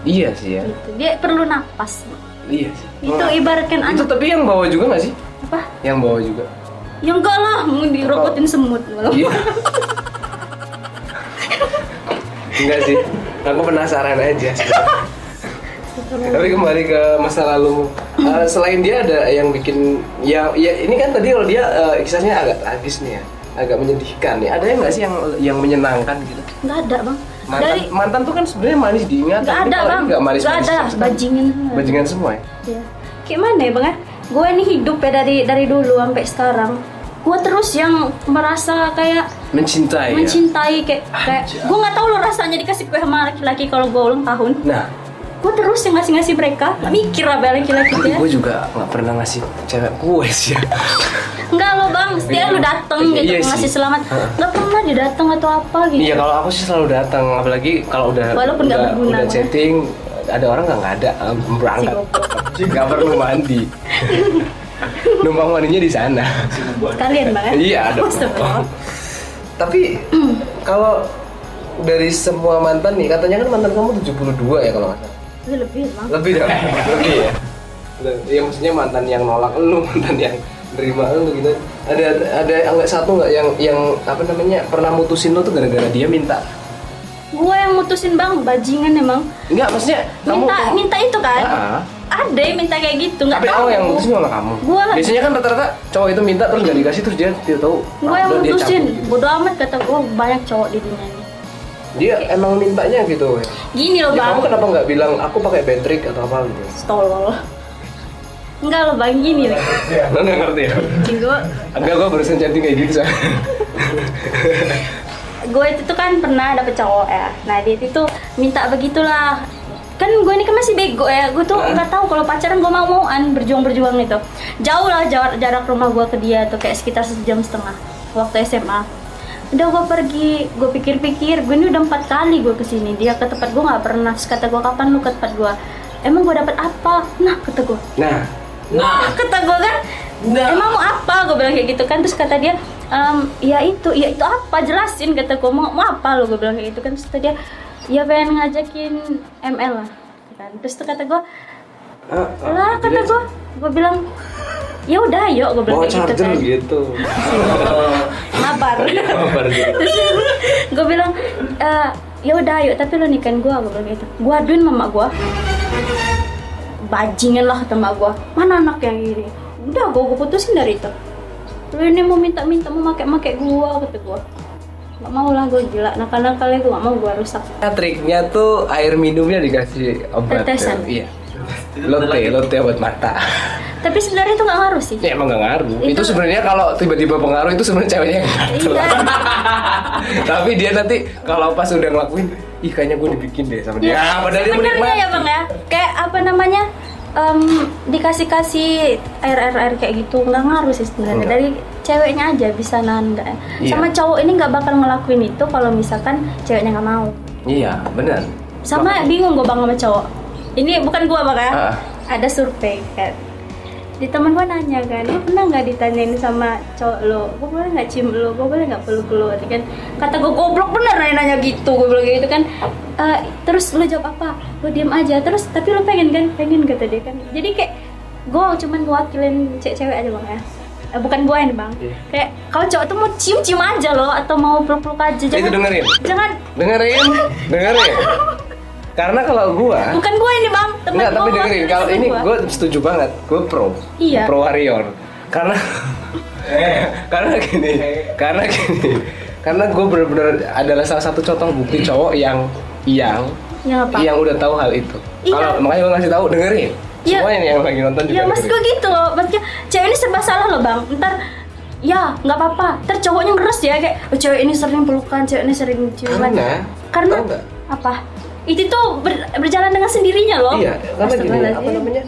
S1: Iya sih ya.
S2: gitu. Dia perlu napas.
S1: Iya sih.
S2: Itu ibaratkan
S1: itu
S2: anak
S1: tapi yang bawa juga nggak sih?
S2: apa?
S1: Yang bawa juga.
S2: Ya enggak lah, mau dirobotin semut.
S1: Iya. Enggak sih. Aku penasaran aja. Tapi kembali ke masa lalumu. Eh, selain dia ada yang bikin ya ya ini kan tadi kalau dia eh, kisahnya agak tragis nih ya. Agak menyedihkan ya. Ada yang nggak sih yang yang menyenangkan gitu?
S2: Enggak ada, Bang.
S1: Mantan,
S2: Dari
S1: mantan tuh kan sebenarnya manis diingat.
S2: enggak
S1: tapi
S2: ada,
S1: kalau ini
S2: Bang.
S1: Nggak manis.
S2: Enggak ada, bajingan.
S1: Bajingan semua ya.
S2: Iya. Kayak mana ya, Bang? ya? Gue ini hidup ya dari dari dulu sampai sekarang. Gue terus yang merasa kayak
S1: Mencintai. ya?
S2: mencintai kayak kayak gue nggak tahu lo rasanya dikasih kue sama laki-laki kalau gue ulang tahun
S1: Nah,
S2: gue terus yang ngasih-ngasih mereka Nggak mikir apa laki-laki
S1: tapi
S2: ya
S1: gue juga nggak pernah ngasih cewek kue sih ya.
S2: Enggak lo bang, setiap lu dateng
S1: Iya,
S2: gitu
S1: iya sih.
S2: ngasih selamat
S1: Heeh.
S2: Enggak pernah dia dateng atau apa gitu
S1: Iya kalau aku sih selalu datang, apalagi kalau udah
S2: Walaupun nggak
S1: udah,
S2: berguna,
S1: udah
S2: ya.
S1: chatting, ada orang nggak nggak ada em,
S2: Si
S1: berangkat,
S2: goblok.
S1: nggak perlu mandi, numpang mandinya di sana.
S2: Sekalian bang ya?
S1: Iya, ada.
S2: Astagfirullah.
S1: Tapi
S2: Hmm.
S1: kalau dari semua mantan nih, katanya kan mantan kamu 72 ya kalau nggak salah.
S2: Itu lebih bang
S1: Lebih dong, lebih ya. Le- Ya maksudnya mantan yang nolak lu, mantan yang nerima lu gitu. Ada ada nggak satu nggak yang yang apa namanya pernah mutusin lu tuh gara-gara dia minta
S2: Gue yang mutusin bang, bajingan emang
S1: Enggak, maksudnya kamu
S2: Minta minta itu kan
S1: Ah.
S2: Ada yang minta kayak gitu, nggak
S1: Tapi
S2: tahu
S1: aku yang mutusin malah kamu.
S2: Gua lah.
S1: Biasanya kan rata-rata cowok itu minta terus gak dikasih terus dia tidak tahu.
S2: Gue yang
S1: udah, dia
S2: mutusin,
S1: cabut gitu.
S2: bodo amat kata gue banyak cowok di dunia ini
S1: Dia emang mintanya gitu. Ya,
S2: Gini loh
S1: kamu
S2: Iya, bang,
S1: kenapa nggak bilang aku pakai battery atau apa gitu?
S2: tolol Enggak loh bang, gini loh
S1: Lo nggak ngerti ya?
S2: Gue
S1: Enggak, gue barusan chatting kayak gitu soalnya.
S2: gue itu tuh kan pernah dapet cowok ya nah dia itu tuh minta begitulah kan gue ini kan masih bego ya gue tuh nggak tahu kalau pacaran gue mau mauan berjuang berjuang itu gitu. jauh lah jarak, jarak rumah gue ke dia tuh kayak sekitar sejam setengah waktu SMA udah gue pergi gue pikir-pikir gue ini udah empat kali gue kesini dia ke tempat gue nggak pernah terus kata gue kapan lu ke tempat gue emang gue dapat apa nah kata gue
S1: Nah,
S5: Nah,
S2: kata gue kan
S6: Nah.
S2: emang mau apa gue bilang kayak gitu kan terus kata dia "Em, ya itu ya itu apa jelasin kata gue mau, mau apa lo gue bilang kayak gitu kan terus kata dia ya pengen ngajakin ML lah gitu kan terus tuh kata gue
S1: ah,
S6: Ah,
S2: lah kata gue gue bilang ya udah yuk gue bilang
S6: bawa
S2: kayak gitu
S6: charger
S2: kan
S6: gitu. Iya.
S2: mabar
S5: Kabar gitu.
S2: gue bilang "Eh, ya udah yuk tapi lo nikahin gue gue bilang gitu gue aduin mama gue bajingan lah kata mak gue mana anak yang ini udah gue gue putusin dari itu lu ini mau minta minta mau make make gue kata gue gak mau lah gue gila nakal nakalnya gue gak mau gue rusak
S1: Nah, Triknya tuh air minumnya dikasih obat.
S2: Tetesan.
S1: Iya. Lotte, lotte obat mata.
S2: tapi sebenarnya itu gak ngaruh sih
S1: Ya emang gak ngaruh. Itu,
S2: Itu-
S1: sebenarnya kalau tiba-tiba pengaruh itu sebenarnya ceweknya yang gatel.
S2: Iya.
S1: Tapi dia nanti kalau pas udah ngelakuin, ih kayaknya gue dibikin deh sama dia. Ya, padahal dia
S2: Sebenarnya
S1: menikmati.
S2: ya bang ya, kayak apa namanya em, dikasih-kasih air air air kayak gitu nggak ngaruh sih sebenarnya
S1: Enggak.
S2: dari ceweknya aja bisa nahan nggak ya.
S1: Iya.
S2: sama cowok ini nggak bakal ngelakuin itu kalau misalkan ceweknya nggak mau
S1: Iya, benar.
S2: sama bingung gue bang sama cowok ini bukan gue bang ya
S1: Ah.
S2: ada survei kan di teman gue nanya kan lu pernah nggak ditanyain sama cowok lo gue boleh nggak cium lo gue boleh nggak peluk lo Dia kan kata gue goblok bener nanya nanya gitu gue bilang gitu kan "Eh, terus lo jawab apa lo diem aja terus tapi lo pengen kan pengen kata dia kan jadi kayak gue cuman ngewakilin cewek-cewek aja bang ya Eh, bukan gue ini bang
S1: Iya.
S2: kayak kalau cowok tuh mau cium-cium aja lo atau mau peluk-peluk aja
S1: Itu dengerin.
S2: jangan
S1: Dengerin, dengerin. Karena kalau gua
S2: bukan gue ini bang temen
S1: Enggak,
S2: gua
S1: tapi
S2: ngewakilin
S1: dengerin. Kalau
S2: temen
S1: ini
S2: gua.
S1: gue setuju banget. Gue pro.
S2: Iya.
S1: Pro warrior. Karena karena gini, karena gini, karena gue bener-bener adalah salah satu contoh bukti cowok yang yang
S2: yang Ya, apa
S1: yang udah tahu hal itu.
S2: Iya.
S1: Kalau makanya gue ngasih tahu dengerin.
S2: Iya.
S1: Semua ini yang lagi nonton juga.
S2: Ya mas gue
S1: dengerin.
S2: gitu loh, maksudnya cewek ini serba salah loh bang. Ntar ya nggak apa-apa. Ntar cowoknya ngeres ya kayak "Oh, cewek ini sering pelukan, cewek ini sering ciuman.
S1: Karena,
S2: Karena
S1: tau nggak?
S2: apa? Itu tuh ber- berjalan dengan sendirinya loh.
S1: Iya, karena gini, apa
S2: Astagfirullahaladzim.
S1: namanya?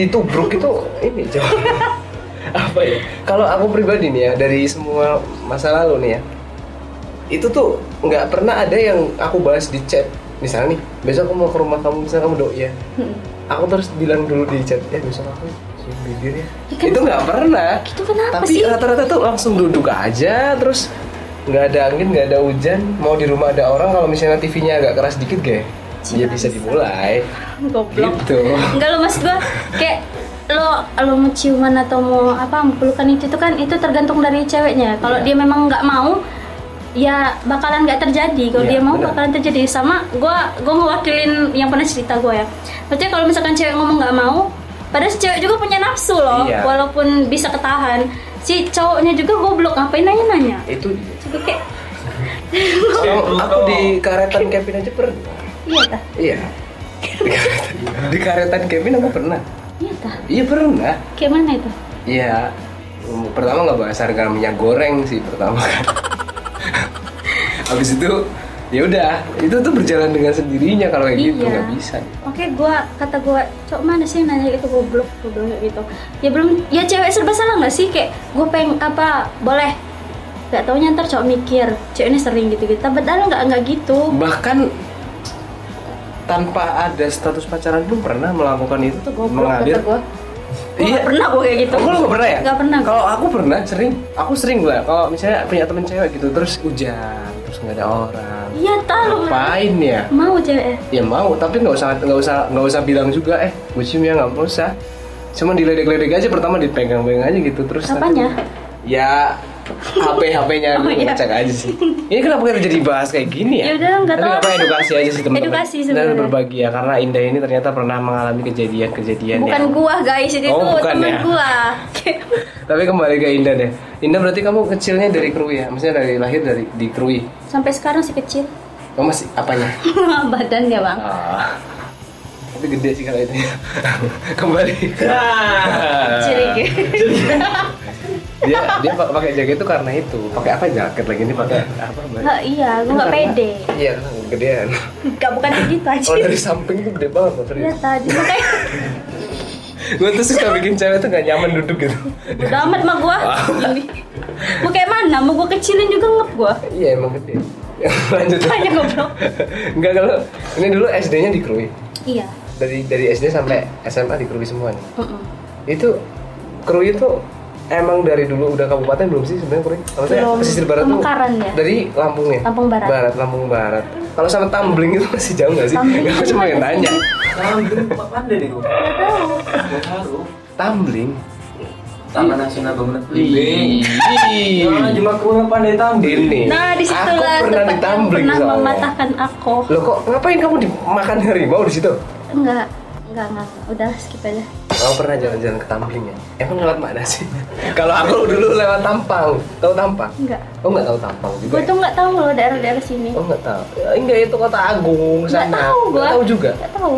S1: Ditubruk itu ini jauh. apa ya? Kalau aku pribadi nih ya, dari semua masa lalu nih ya, itu tuh nggak pernah ada yang aku bahas di chat. Misalnya nih, besok aku mau ke rumah kamu, misalnya kamu doi ya.
S2: Hmm.
S1: Aku terus bilang dulu di chat, ya besok aku cium bibir ya.
S2: Ya kan-
S1: itu nggak pernah.
S2: Itu kenapa
S1: Tapi eh,
S2: sih?
S1: rata-rata tuh langsung duduk aja, terus nggak ada angin, nggak ada hujan, mau di rumah ada orang, kalau misalnya TV-nya agak keras dikit, gak? Ya bisa dimulai.
S2: Goblok.
S1: Gitu.
S2: Enggak lo mas gue kayak lo lo mau ciuman atau mau apa mau pelukan itu tuh kan itu tergantung dari ceweknya.
S1: Iya.
S2: Kalau dia memang nggak mau ya bakalan nggak terjadi kalau
S1: Iya,
S2: dia mau
S1: benar.
S2: bakalan terjadi sama gua gua ngewakilin yang pernah cerita gua ya maksudnya kalau misalkan cewek ngomong nggak mau padahal si cewek juga punya nafsu loh
S1: Iya.
S2: walaupun bisa ketahan si cowoknya juga goblok ngapain nanya nanya
S1: Itu dia.
S2: juga kayak
S1: Aku, aku di karetan Kevin aja pernah.
S2: iya tah
S1: Iya. Di karetan, di karetan Kevin aku pernah.
S2: iya tah
S1: Iya pernah.
S2: kayak mana itu
S1: Iya. Hmm, Pertama nggak bahas harga minyak goreng sih pertama kan. Habis itu ya udah itu tuh berjalan dengan sendirinya kalau kayak gitu
S2: Iya.
S1: nggak bisa.
S2: Oke, gua kata gua, cok mana sih yang nanya gitu goblok, gua bilang kayak gitu. Ya belum, ya cewek serba salah nggak sih kayak gua peng apa boleh? Gak taunya ntar cowok mikir, cewek ini sering gitu-gitu. Tapi Padahal nggak nggak gitu.
S1: Bahkan tanpa ada status pacaran pun pernah melakukan itu
S2: Itu goblok
S1: mengalir.
S2: kata gua. Gua
S1: Iya.
S2: nggak pernah gua kayak gitu.
S1: Aku lu gak pernah ya?
S2: Nggak pernah.
S1: Kalau aku pernah sering, aku sering gue. Kalau misalnya punya temen cewek gitu, terus hujan, terus nggak ada orang.
S2: Iya tahu.
S1: Ngapain ya?
S2: Mau cewek. ya?
S1: Ya mau, tapi nggak usah nggak usah nggak usah bilang juga. Eh, gue cium ya nggak usah. Cuman diledek-ledek aja pertama dipegang-pegang aja gitu terus. nanti-
S2: Apanya?
S1: Ya HP HP-nya
S2: Oh,
S1: dulu
S2: iya.
S1: ngecek aja sih. Ini kenapa kita jadi bahas kayak gini ya?
S2: Ya udah, nggak
S1: Tapi
S2: tahu.
S1: apa edukasi aja sih teman-teman.
S2: Edukasi
S1: Dan
S2: sebenarnya.
S1: berbagi ya karena Indah ini ternyata pernah mengalami kejadian-kejadian ya.
S2: Bukan
S1: yang
S2: gua guys, itu
S1: Iya, Oh,
S2: tuh
S1: bukan
S2: temen
S1: ya.
S2: gua.
S1: Tapi kembali ke Indah deh. Indah berarti kamu kecilnya dari Krui ya? Maksudnya dari lahir dari di Krui.
S2: Sampai sekarang sih kecil
S1: Kamu masih apanya?
S2: badannya bang.
S1: Ah. Tapi gede sih kalau itu. ya. kembali. Ah.
S2: Ciri gitu.
S1: dia dia pa- pakai jaket itu karena itu. Pakai apa jaket lagi ini pakai apa? Mbak?
S2: Nggak, iya, gua nggak pede.
S1: Iya, karena gedean.
S2: Gak bukan begitu aja.
S1: Kalau Oh, dari samping tuh gede banget loh,
S2: Iya
S1: serius.
S2: tadi makanya
S1: Gue tuh suka bikin cewek tuh gak nyaman duduk gitu.
S2: Bodo amat mah gua. Ini. Mau kayak mana? Mau gua kecilin juga ngep gua.
S1: Iya emang gede. Lanjut.
S2: Tanya goblok.
S1: Enggak kalau ini dulu SD-nya di Krui.
S2: Iya.
S1: Dari dari SD sampai SMA di Krui semua nih.
S2: Mm-mm.
S1: itu Krui itu emang dari dulu udah kabupaten belum sih sebenarnya Krui? Maksudnya
S2: Belum.
S1: pesisir barat tuh
S2: Pemekaran ya?
S1: dari Lampung ya?
S2: Lampung Barat.
S1: Barat, Lampung Barat. Kalau sama tumbling itu masih jauh nggak sih?
S2: Tumbling
S1: Aku
S2: itu
S1: cuma pengen
S2: mana sih?
S1: tanya.
S5: Sekarang gini, Pak Pandai kan nih gue.
S2: Nggak tahu.
S5: Gak tahu.
S1: Tumbling?
S5: Taman Nasional Bangunan
S1: Ih.
S5: Jangan cuma kurang pandai tampil.
S1: Ini. Iya.
S2: Nah,
S1: aku
S2: disitulah
S1: pernah
S2: tempat yang
S1: ditumbling
S2: pernah
S1: soalnya.
S2: mematahkan aku.
S1: Loh kok ngapain kamu dimakan harimau di situ?
S2: Enggak, enggak, enggak. Udah skip aja.
S1: Kamu pernah jalan-jalan ke Tambling ya? Emang lewat mana sih? Kalau aku dulu lewat Tampang. Tahu Tampang?
S2: Enggak.
S1: Oh nggak tahu Tampang juga.
S2: Gue
S1: ya?
S2: tuh nggak tahu loh daerah-daerah sini.
S1: Oh nggak tahu. Ya, enggak itu Kota Agung
S2: Nggak
S1: sana.
S2: tahu gue.
S1: Nggak tahu juga.
S2: Nggak tahu.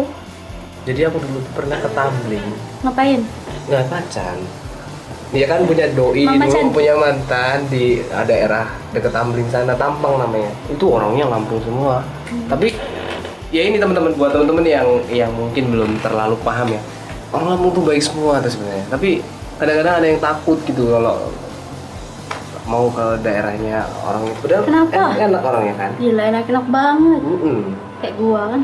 S1: Jadi aku dulu tuh pernah ke Tambling.
S2: Ngapain?
S1: Nggak pacan. Dia kan punya doi
S2: Mama
S1: dulu
S2: cantik.
S1: punya mantan di ah, daerah deket Tambling sana Tampang namanya. Itu orangnya Lampung semua.
S2: Hmm.
S1: Tapi ya ini teman-teman buat teman-teman yang yang mungkin belum terlalu paham ya. Orang Lampung tuh baik semua tuh sebenarnya. Tapi kadang-kadang ada yang takut gitu kalau mau ke daerahnya orang itu. Padahal
S2: Kenapa?
S1: Enak-enak orangnya kan.
S2: Gila enak-enak banget.
S1: Mm-mm.
S2: Kayak gua kan.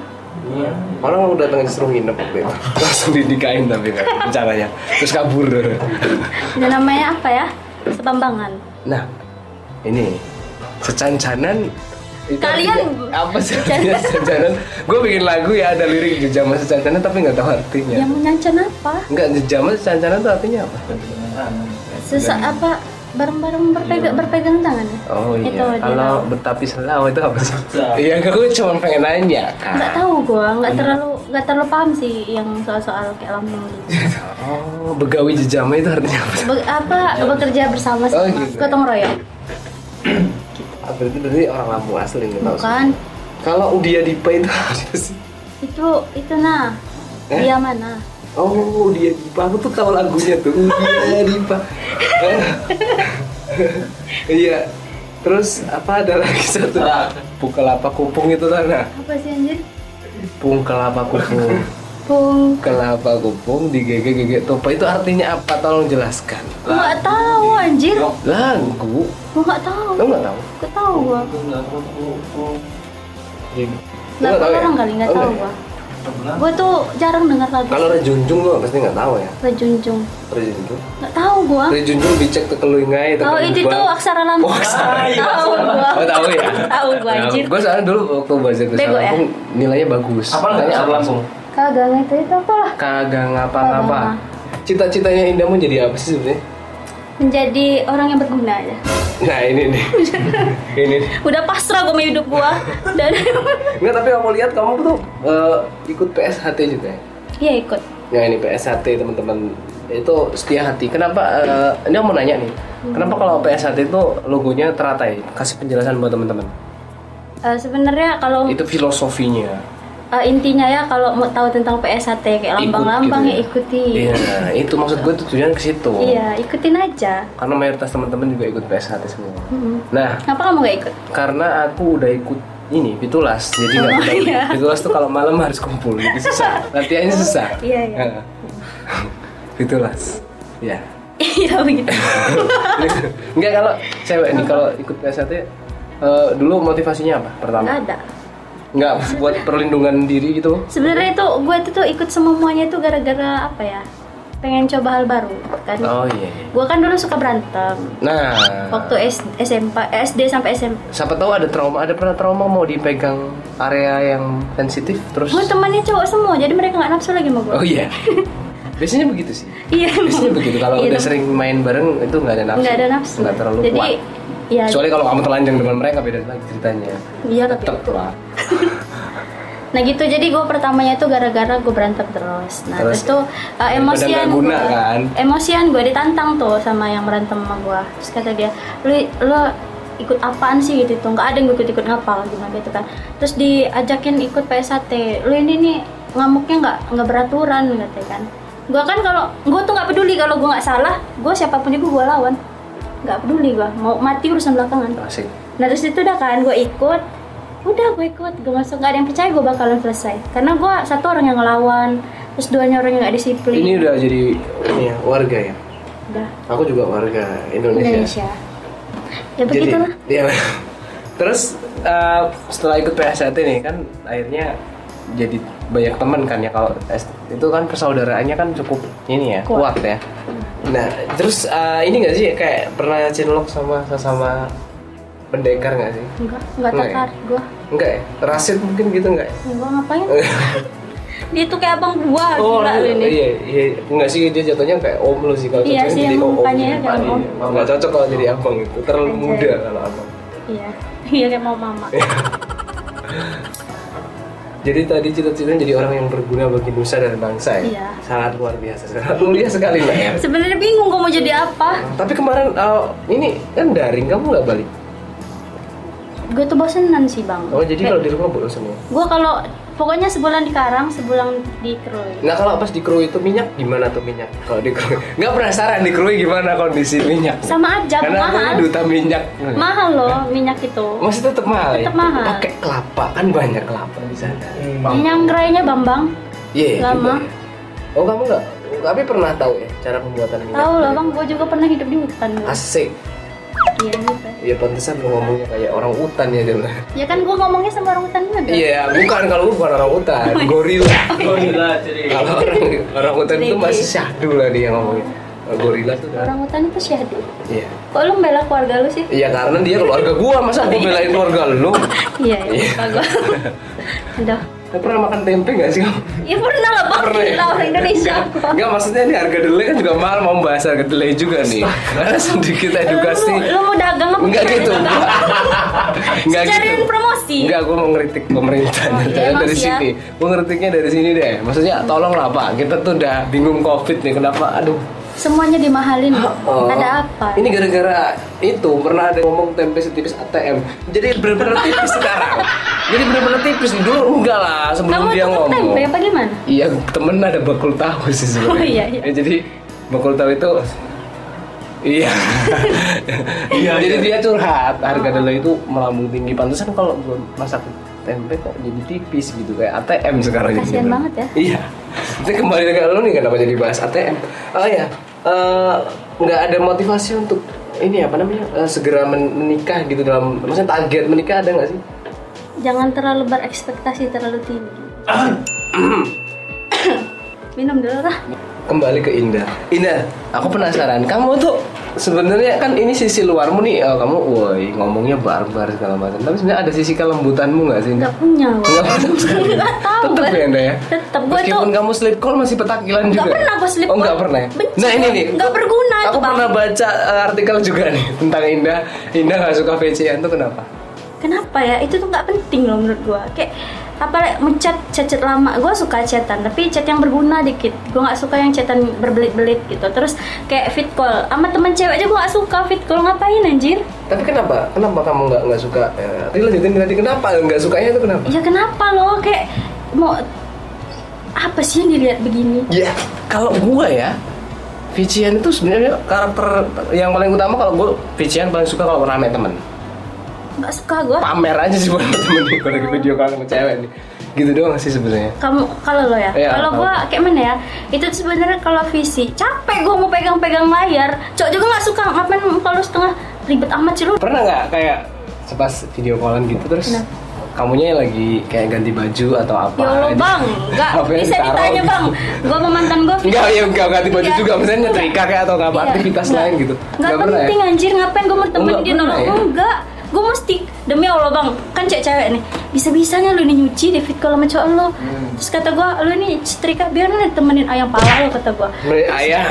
S1: Orang mau datang disuruh nginep waktu itu Langsung dinikahin tapi kan rencananya Terus kabur
S2: Dan namanya apa ya? Sepambangan.
S1: Nah ini Secancanan itu
S2: Kalian-
S1: artinya apa sih artinya secancanan? Gue bikin lagu ya ada lirik jejama secancanan tapi nggak tahu artinya.
S2: Yang menyancan apa?
S1: Enggak jejama secancanan itu artinya apa?
S2: Sesa apa? Bareng-bareng berpegang berpegang tangan ya?
S1: Iya. Oh iya.
S2: Itu dia.
S1: Kalau bertapi selaw itu apa sih?
S5: Selaw.
S1: Iya, gue cuma pengen nanya. Kak. Iya.
S2: Nggak tahu gua, nggak terlalu nggak terlalu paham sih yang soal-soal kayak Lampung gitu.
S1: Oh, begawi jejama itu artinya apa?
S2: Be- apa bekerja bersama
S1: Iya.
S2: sama
S1: Oh, gitu.
S2: gotong royong?
S1: Ah, Berarti berarti orang Lampung asli nggak tahu.
S2: Bukan.
S1: Kalau Udia Dipa itu apa sih?
S2: Itu itu nah.
S1: Eh?
S2: Dia mana?
S1: Oh, dia Dipa. Aku tuh tahu lagunya tuh. Dia Dipa. Eh. Iya. Terus apa ada lagi satu? Ah, Pung kelapa kupung itu sana.
S2: Apa sih anjir?
S1: Pung kelapa kupung.
S2: Pung.
S1: Kelapa kupung digegek gegek topa itu artinya apa? Tolong jelaskan.
S2: Gua nggak tahu anjir.
S1: Lagu.
S2: Gua nggak tahu.
S1: Kamu nggak tahu?
S2: Gak tahu gua.
S1: Lu
S2: Lah
S1: nggak tahu ya?
S2: orang kali nggak
S1: Oh,
S2: tahu
S1: nggak ya?
S2: gua. Gua tuh jarang dengar lagu.
S1: Kalau rejunjung lo pasti nggak tahu ya.
S2: Rejunjung.
S1: Rejunjung.
S2: Nggak tahu gua.
S1: Rejunjung dicek ke kelungai.
S2: Oh itu tuh aksara
S1: Oh,
S2: Lampung.
S1: aksara.
S2: tahu gua.
S1: Oh tahu ya?
S2: Tahu gua anjir.
S1: gue soalnya dulu waktu belajar bahasa
S2: Bego ya?
S1: Lampung nilainya bagus.
S5: Apa ya, nggak
S1: Tanya
S5: cara langsung?
S2: Kagak ngerti itu apa lah.
S1: Kagak
S2: Kagak
S1: ngapa-ngapa.
S2: ngapa.
S1: Cita-citanya Indah mau jadi apa sih sebenarnya?
S2: Menjadi orang yang berguna aja.
S1: Nah ini nih. ini. nih.
S2: Udah pasrah gua sama hidup gua. Dan
S1: Nggak tapi kamu lihat kamu tuh eh, ikut PSHT juga ya?
S2: ya ikut.
S1: Nah ini PSHT teman-teman itu setia hati. Kenapa? eh, ini aku mau nanya nih. Kenapa kalau PSHT itu logonya teratai? Kasih penjelasan buat teman-teman.
S2: Eh, Sebenarnya kalau
S1: Itu filosofinya.
S2: eh, intinya ya kalau mau tahu tentang PSAT kayak
S1: Ikut gitu
S2: lambang-lambang ya ikuti.
S1: Iya, itu maksud gue tujuan ke situ.
S2: Iya, ikutin aja.
S1: Karena mayoritas teman-teman juga ikut PSHT semua.
S2: Hmm.
S1: Nah,
S2: Kenapa kamu gak ikut?
S1: karena aku udah ikut ini pitulas jadi nggak
S2: Oh,
S1: bisa
S2: iya.
S1: pitulas tuh kalau malam harus kumpul jadi susah latihannya susah
S2: Iya, iya.
S1: Heeh. pitulas ya
S2: Iya begitu.
S1: nggak kalau cewek nih kalau ikut PSAT eh, dulu motivasinya apa pertama
S2: Gak ada.
S1: nggak buat perlindungan diri gitu
S2: Sebenarnya itu gue tuh, tuh ikut semuanya itu gara-gara apa ya? Pengen coba hal baru kan.
S1: oh iya
S2: Gue kan dulu suka berantem.
S1: nah
S2: Waktu S- SMP, eh, SD sampai SMP.
S1: siapa tahu ada trauma ada pernah trauma mau dipegang area yang sensitif terus
S2: Gue temannya cowok semua, jadi mereka nggak nafsu lagi sama gue.
S1: oh iya biasanya begitu sih
S2: Iya.
S1: biasanya begitu kalau
S2: Iya,
S1: udah
S2: tem-
S1: sering main bareng itu nggak ada nafsu
S2: nggak ada nafsu.
S1: nggak terlalu
S2: jadi,
S1: kuat
S2: Iya,
S1: Kecuali kalau kamu telanjang depan mereka beda lagi ceritanya.
S2: iya tapi.
S1: Tetep lah.
S2: Nah gitu, jadi gue pertamanya tuh gara-gara gue berantem terus. Nah
S1: Terus?
S2: terus, tuh uh, emosian
S1: nggak guna,
S2: gua-
S1: kan?
S2: emosian gue ditantang tuh sama yang berantem sama gue. Terus kata dia, lu lu ikut apaan sih gitu tuh? Gak ada yang gue ikut-ikut ngapal gimana gitu kan. Terus diajakin ikut PSAT, lu ini nih ngamuknya nggak nggak beraturan katanya kan. Gue kan kalau gue tuh nggak peduli kalau gue nggak salah, gue siapapun itu gue lawan. Nggak peduli gue, mau mati urusan belakangan.
S1: Asik.
S2: Nah terus itu udah kan gue ikut Udah gue ikut, gue masuk gak ada yang percaya gue bakalan selesai Karena gue satu orang yang ngelawan Terus duanya orang yang gak disiplin
S1: Ini udah jadi ini ya, warga ya.
S2: Udah,
S1: Aku juga warga Indonesia.
S2: Indonesia Ya
S1: Jadi,
S2: begitulah
S1: iya. Terus eh, setelah ikut PSAT nih kan akhirnya jadi banyak teman kan ya kalau S- itu kan persaudaraannya kan cukup ini ya kuat,
S2: Kuat.
S1: ya. Nah terus eh, ini nggak sih kayak pernah cinlok sama sesama pendekar nggak sih?
S2: Enggak, enggak
S1: Enggak ya?
S2: tertarik gue
S1: Enggak ya? Rasid mungkin gitu enggak ya?
S2: Gua ngapain? Dia tuh kayak abang dua gila
S1: Rasid.
S2: lu ini.
S1: iya, iya, enggak sih dia jatuhnya kayak om lu sih kalau
S2: Iya
S1: cocoknya
S2: sih,
S1: jadi
S2: emang
S1: om.
S2: mukanya ya kayak
S1: Iya,
S2: om.
S1: Enggak cocok kalau jadi abang gitu, terlalu
S2: Anjay.
S1: muda kalau abang.
S2: Iya. Iya kayak mau mama.
S1: Jadi tadi cita-citanya jadi orang yang berguna bagi nusa dan bangsa ya?
S2: Iya.
S1: Sangat luar biasa, sangat mulia sekali Mbak Em.
S2: Sebenarnya bingung gua mau jadi apa.
S1: Tapi kemarin uh, ini kan daring, kamu nggak balik?
S2: Gue tuh bosenan sih, Bang.
S1: Oh jadi
S2: Kayak-
S1: kalau di rumah bolos semua.
S2: Gue kalau pokoknya sebulan di Karang, sebulan di Krui.
S1: Nah kalau pas di kru itu minyak gimana tuh minyak? Kalau di kru nggak penasaran di kru gimana kondisi minyak?
S2: Sama aja
S1: Karena aku ini
S2: mahal.
S1: duta minyak.
S2: Mahal loh minyak itu.
S1: Masih tetap mahal. ya?
S2: Tetap mahal.
S1: Pakai kelapa kan banyak kelapa di sana.
S2: Nyangkrainya Bambang.
S1: Iya. juga
S2: Lama.
S1: ya. Oh kamu nggak? Tapi pernah tahu ya cara pembuatan minyak?
S2: Tahu loh Bang, gue juga pernah hidup di hutan dulu.
S1: Asik.
S2: Iya gitu.
S1: Ya pantesan lu ngomongnya kayak orang hutan ya dia bilang.
S2: Ya kan gue ngomongnya sama orang hutan juga.
S1: Iya, bukan kalau lu bukan orang
S2: Oh,
S1: hutan,
S2: iya.
S1: gorila.
S3: Oh,
S5: Gila, jadi
S1: Kalau orang orang hutan itu masih syahdu lah dia ngomongnya. Kalau Gorila tuh udah-
S2: Orang hutan itu syahdu.
S1: Iya.
S2: Kok lu membela keluarga lu sih?
S1: Iya karena dia keluarga gua, masa gua belain keluarga lu?
S2: Iya, iya. Bagus. Udah.
S1: Lu pernah makan tempe gak sih kamu?
S2: Ya pernah lah Bang,
S1: Pernah ya?
S2: gila orang Indonesia.
S1: Enggak, maksudnya ini harga delay kan juga mahal mau bahas harga delay juga nih. Karena sedikit
S2: Lu,
S1: edukasi.
S2: mau- lu mau dagang apa?
S1: Enggak gitu. Enggak
S2: Cariin promosi.
S1: Enggak, gue gitu. mau ngeritik pemerintah
S2: Oh, iya,
S1: Jangan dari
S2: Mas, ya.
S1: sini. Gue ngeritiknya dari sini deh. Maksudnya tolonglah Pak, kita tuh udah bingung Covid nih. Kenapa? Aduh.
S2: Semuanya dimahalin.
S1: Oh.
S2: Ada apa?
S1: Ini gara-gara itu pernah ada ngomong tempe setipis ATM. Jadi bener-bener tipis sekarang. Jadi bener-bener tipis nih. dulu enggak lah sebelum
S2: Kamu
S1: dia
S2: tukang
S1: ngomong.
S2: tempe apa gimana?
S1: Iya, temen ada bakul tahu sih sebenarnya.
S2: Oh, iya, iya.
S1: Ya, jadi bakul tahu itu Iya. jadi dia curhat harga delay itu melambung tinggi pantesan kalau gua masak tempe kok jadi tipis gitu kayak ATM sekarang
S2: Kasihan
S1: jadi.
S2: banget ya.
S1: Iya. Nanti kembali ke lu nih kenapa jadi bahas ATM? Oh ya, eh, nggak ada motivasi untuk ini apa namanya eh, segera men- menikah gitu dalam maksudnya target menikah ada nggak sih?
S2: Jangan terlalu berekspektasi terlalu tinggi. Minum dulu lah.
S1: kembali ke Indah. Indah, aku penasaran. Kamu tuh sebenarnya kan ini sisi luarmu nih. Oh, kamu woi ngomongnya barbar segala macam. Tapi sebenarnya ada sisi kelembutanmu nggak sih?
S2: Gak punya. Bang.
S1: Nggak pernah sekali.
S2: Nggak tahu,
S1: Tetep
S2: Bang.
S1: ya Indah ya.
S2: Tetep, gua
S1: Meskipun
S2: tuh-
S1: kamu sleep call masih petakilan juga.
S2: Gak pernah gue slip
S1: Oh nggak
S2: call.
S1: pernah. ya?
S2: Benci
S1: nah ini
S2: gua.
S1: nih.
S2: Nggak berguna
S1: Aku
S2: itu bang.
S1: pernah baca eh, artikel juga nih tentang Indah. Indah nggak suka VCN tuh kenapa?
S2: Kenapa ya? Itu tuh nggak penting loh menurut gue. Kayak apa mencet chat chat lama gue suka chatan tapi chat yang berguna dikit gue nggak suka yang chatan berbelit-belit gitu terus kayak fit call sama temen cewek aja gue nggak suka fit call ngapain anjir
S1: Tapi kenapa? Kenapa kamu nggak nggak suka? Eh, tadi lanjutin tadi kenapa nggak sukanya itu kenapa?
S2: ya kenapa loh kayak mau apa sih yang dilihat begini
S1: Ya, kalau gua ya, Vician itu sebenarnya karakter yang paling utama kalau gua Vician paling suka kalau rame temen.
S2: nggak suka gue
S1: Pamer aja sih buat temen nih, kalau lagi video call sama cewek nih. Gitu doang sih sebenarnya.
S2: kamu kalau lo ya
S1: Iya,
S2: kalau
S1: kalau-
S2: gua kayak mana ya itu tuh sebenarnya kalau visi capek gua mau pegang-pegang layar cok juga nggak suka ngapain kalau setengah ribet amat sih lu
S1: Pernah nggak kayak pas video callan gitu terus
S2: Kenapa?
S1: kamunya lagi kayak ganti baju atau apa?
S2: ya Allah
S1: aja.
S2: bang nggak
S1: Apa yang
S2: bisa
S1: ditaruh
S2: ditanya
S1: gitu.
S2: bang gua sama mantan gua
S1: Enggak, ya enggak ganti baju
S2: Iya.
S1: juga, misalnya nyetrika kayak atau apa
S2: Iya,
S1: aktivitas
S2: nggak.
S1: lain gitu.
S2: nggak
S1: pernah ya?
S2: penting anjir ngapain gua mau temen
S1: Nggak
S2: dia
S1: pernah
S2: nolong
S1: ya?
S2: enggak gua mesti demi Allah bang kan cewek-cewek nih bisa-bisanya lu ini nyuci David kalau sama cowok lo
S1: Hmm.
S2: terus kata gua lu ini setrika biar nih temenin ayam pala lo kata gua
S1: Mereka- Ayah.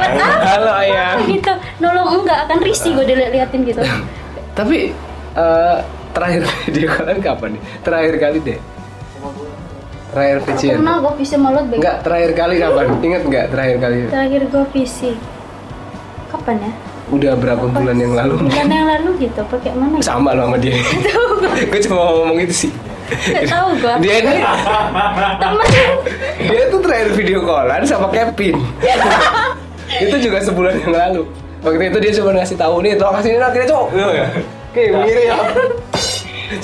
S2: Buat apa?
S1: Halo ayah.
S2: gitu nolong enggak akan risih gue diliatin gitu
S1: Tapi eh, terakhir video kalian kapan nih? Terakhir kali deh. Terakhir VCN.
S2: pernah gue visi mulut baik
S1: Enggak, terakhir kali kapan? Ingat nggak terakhir kali?
S2: terakhir gue visi kapan ya
S1: Udah berapa Oh, bulan yang lalu?
S2: bulan yang lalu gitu pakai mana gitu
S1: Sama lo sama dia. gue cuma mau ngomong itu sih.
S2: nggak tahu gue
S1: Dia ini
S2: temen
S1: dia tuh terakhir video callan sama Kevin. itu juga sebulan yang lalu. Waktu itu dia cuma ngasih tahu nih, tolong kasih ini akhirnya cowok. Gitu ya. Oke, begini ya.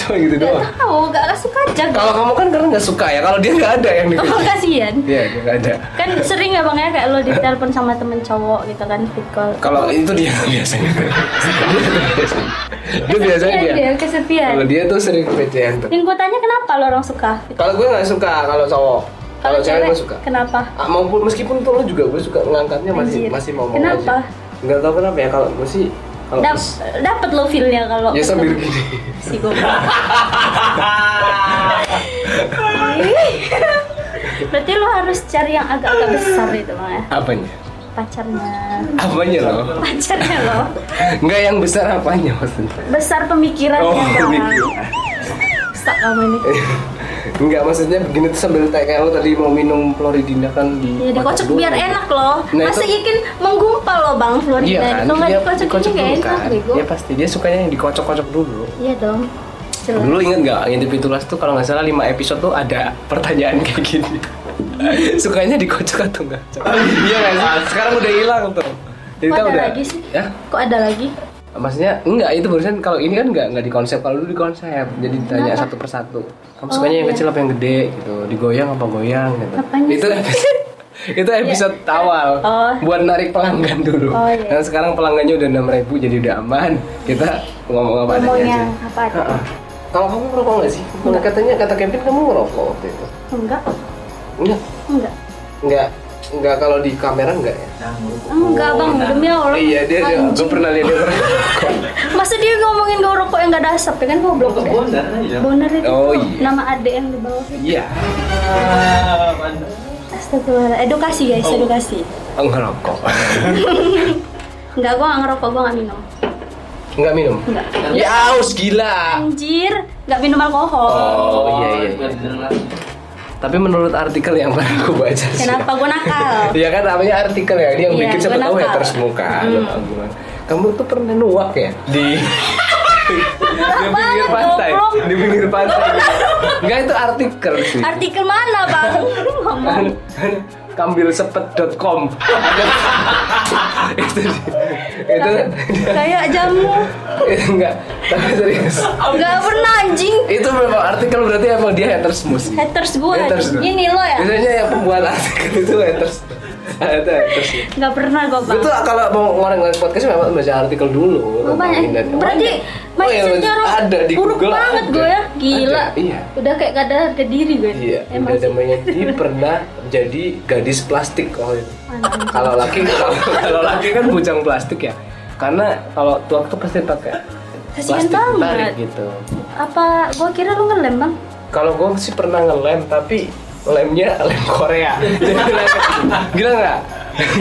S1: Cuma gitu
S2: nggak
S1: doang.
S2: tahu nggak nggak suka aja
S1: Kalau
S2: gue
S1: kamu kan karena nggak suka ya, kalau dia nggak ada yang di
S2: oh kasihan
S1: Iya, dia nggak ada.
S2: kan sering ya bang ya kayak lo ditelepon sama temen cowok gitu kan fit call
S1: Kalau itu dia biasanya. dia biasanya
S2: Kesepian
S1: dia.
S2: dia kesepian
S1: Kalau dia tuh sering PCN tuh.
S2: yang gue tanya kenapa lo orang suka
S1: Kalau gue nggak suka kalau cowok. Kalau cewek gue suka.
S2: kenapa
S1: Ah, maupun meskipun tuh lo juga gue suka ngangkatnya masih
S2: Anjir.
S1: masih mau mau
S2: Kenapa?
S1: aja. Nggak tahu kenapa ya kalau gue sih kalau
S2: Dap- dapat lo feelnya kalau
S1: ya sambil
S2: ketemu.
S1: gini.
S2: si goblok Berarti lo harus cari yang agak-agak besar itu mah
S1: Apanya?
S2: pacarnya.
S1: Apanya loh?
S2: Pacarnya lo
S1: Enggak yang besar apanya maksudnya?
S2: besar pemikirannya
S1: Oh,
S2: Bang.
S1: pemikiran. Eh,
S2: Stuck kamu ini.
S1: Enggak maksudnya begini tuh sambil tanya kayak lo tadi mau minum Floridina kan di
S2: Ya dikocok biar enak loh.
S1: Nah,
S2: Masa
S1: itu-
S2: ikin menggumpal loh Bang Florida.
S1: Iya kan?
S2: Itu nggak
S1: Dia
S2: dikocok ini nggak
S1: dulu
S2: enak
S1: kan?
S2: bego.
S1: Iya pasti dia sukanya yang dikocok-kocok dulu.
S2: Iya dong. Jelas.
S1: Dulu inget nggak ngintip pitulas tuh kalau nggak salah 5 episode tuh ada pertanyaan kayak gini. Sukanya dikocok atau nggak? Cok? iya kan? Sekarang udah hilang tuh. Jadi
S2: Kok
S1: kita
S2: ada
S1: udah.
S2: lagi sih?
S1: Ya?
S2: Kok ada lagi?
S1: Maksudnya enggak itu barusan kalau ini kan enggak enggak di konsep kalau dulu di konsep jadi ditanya satu persatu kamu sukanya yang
S2: iya.
S1: kecil apa yang gede gitu digoyang apa goyang gitu
S2: Apanya
S1: itu
S2: sih? Iya.
S1: episode, itu episode awal
S2: Oh.
S1: buat narik pelanggan dulu
S2: Oh, iya.
S1: dan sekarang pelanggannya udah enam ribu jadi udah aman kita ngomong apa adanya aja
S2: Ngomongnya apa ada?
S1: Heeh. kalau kamu ngerokok nggak sih katanya kata Kevin kamu ngerokok waktu itu
S2: Enggak.
S1: enggak
S2: Enggak.
S1: enggak enggak kalau di kamera enggak ya
S2: Enggak, Bang. Demi Allah.
S1: Oh, iya dia, dia
S2: Anjing.
S1: gue pernah lihat dia ngerokok.
S2: Masa dia ngomongin gue rokok yang gak ada asap ya kan goblok
S5: Untuk
S2: deh.
S5: bondar aja.
S2: Boner itu
S1: Oh, iya.
S2: nama adek yang di bawah.
S1: iya
S5: Ah, mantap.
S2: Astagfirullah. Edukasi
S1: Oh.
S2: guys, edukasi.
S1: ngerokok
S2: Enggak, gue gak ngerokok, gue gak minum.
S1: enggak minum
S2: Enggak.
S1: Ya aus gila.
S2: Anjir, gak minum alkohol.
S1: Ah. Oh iya iya.
S5: Biar didengar.
S1: Tapi menurut artikel yang pernah aku baca sih.
S2: Kenapa gue nakal?
S1: Iya kan namanya artikel ya, dia yang
S2: Iya,
S1: bikin siapa tahu
S2: kenapa?
S1: haters muka. Gimana? Kamu tuh pernah nuak ya di di pinggir pantai,
S2: goblok.
S1: di pinggir pantai. Enggak itu artikel sih.
S2: Artikel mana bang? Ngomong.
S1: kambilsepet.com itu dia. itu
S2: Kayak jamu.
S1: itu enggak tapi serius
S2: Gak pernah anjing.
S1: itu memang artikel berarti emang dia haters musik
S2: Haters gue.
S1: Haters lu.
S2: Ini lo ya.
S1: Biasanya yang pembuat artikel itu haters. Ah, itu haters.
S2: Gak pernah gue bang.
S1: Itu kalau mau ngoreng-ngoreng podcast memang baca artikel dulu.
S2: Gue banyak.
S1: Ngomongin dan-
S2: Berarti
S1: Oh, iya,
S2: mindsetnya orang
S1: ada di
S2: buruk
S1: Google
S2: banget
S1: ada.
S2: gue ya. Gila.
S1: Ada, iya.
S2: Udah kayak gak ada harga diri gue.
S1: Iya,
S2: Emang
S1: Emang
S2: sih.
S1: namanya dia pernah jadi gadis plastik kalau itu.
S2: Anjing.
S1: Kalau laki kalau, kalau laki kan bujang plastik ya. Karena kalau tua tuh pasti pakai
S2: Kasihan
S1: plastik
S2: banget.
S1: tarik gitu.
S2: Apa gue kira lu ngelem bang?
S1: Kalau gue sih pernah ngelem tapi lemnya lem Korea. Jadi lem gila nggak?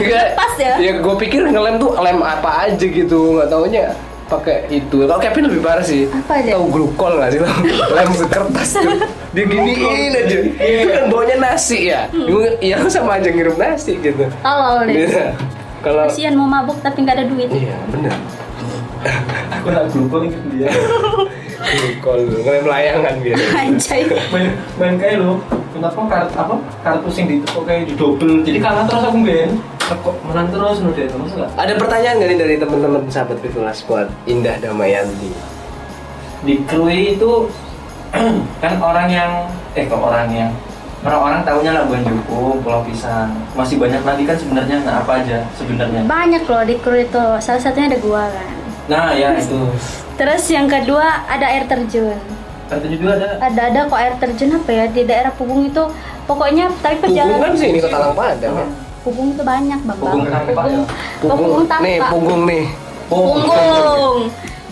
S1: Gila.
S2: Pas ya?
S1: Ya gue pikir ngelem tuh lem apa aja gitu, nggak taunya pakai itu. Kalau Kevin lebih parah sih.
S2: Apa dia?
S1: Tahu glukol nggak sih? lo? lem kertas tuh. Dia giniin aja.
S2: Iya.
S1: Itu kan baunya nasi ya.
S2: Hmm.
S1: Gua- Iya aku sama aja ngirup nasi gitu.
S2: Tolol deh.
S1: Iya. Kalau
S2: Kasihan mau mabuk tapi gak ada duit.
S1: iya benar.
S3: Aku nak glukon ikut dia.
S1: Glukol ngelem layangan gitu.
S2: Anjay.
S3: Main main kayak lo. Kenapa kartu apa kartu sing ditukuk kayak didobel. Jadi kalah terus aku ben. Kok menang terus lo deh, terus nggak?
S1: Ada pertanyaan nggak nih dari teman-teman sahabat Fitulas buat Indah Damayanti?
S5: Di Krui itu kan orang yang eh kok orang yang orang-orang tahunya Labuan Joko, Pulau Pisang. Masih banyak lagi kan sebenarnya nah apa aja sebenarnya.
S2: Banyak loh di kru itu. Salah satunya ada gua kan.
S5: Nah, ya itu.
S2: Terus yang kedua ada air terjun.
S5: Kartunya juga ada
S2: Ada ada kok air terjun apa ya di daerah Pugung itu pokoknya tapi
S1: Punggung kan
S2: perjalanan
S1: sih ini kota Lang Padang ya.
S2: Pugung itu banyak bang
S5: Pugung
S2: bang.
S5: Tampak ya?
S2: Pugung, Pugung
S1: nih,
S2: Tampak.
S1: punggung nih.
S2: Punggung.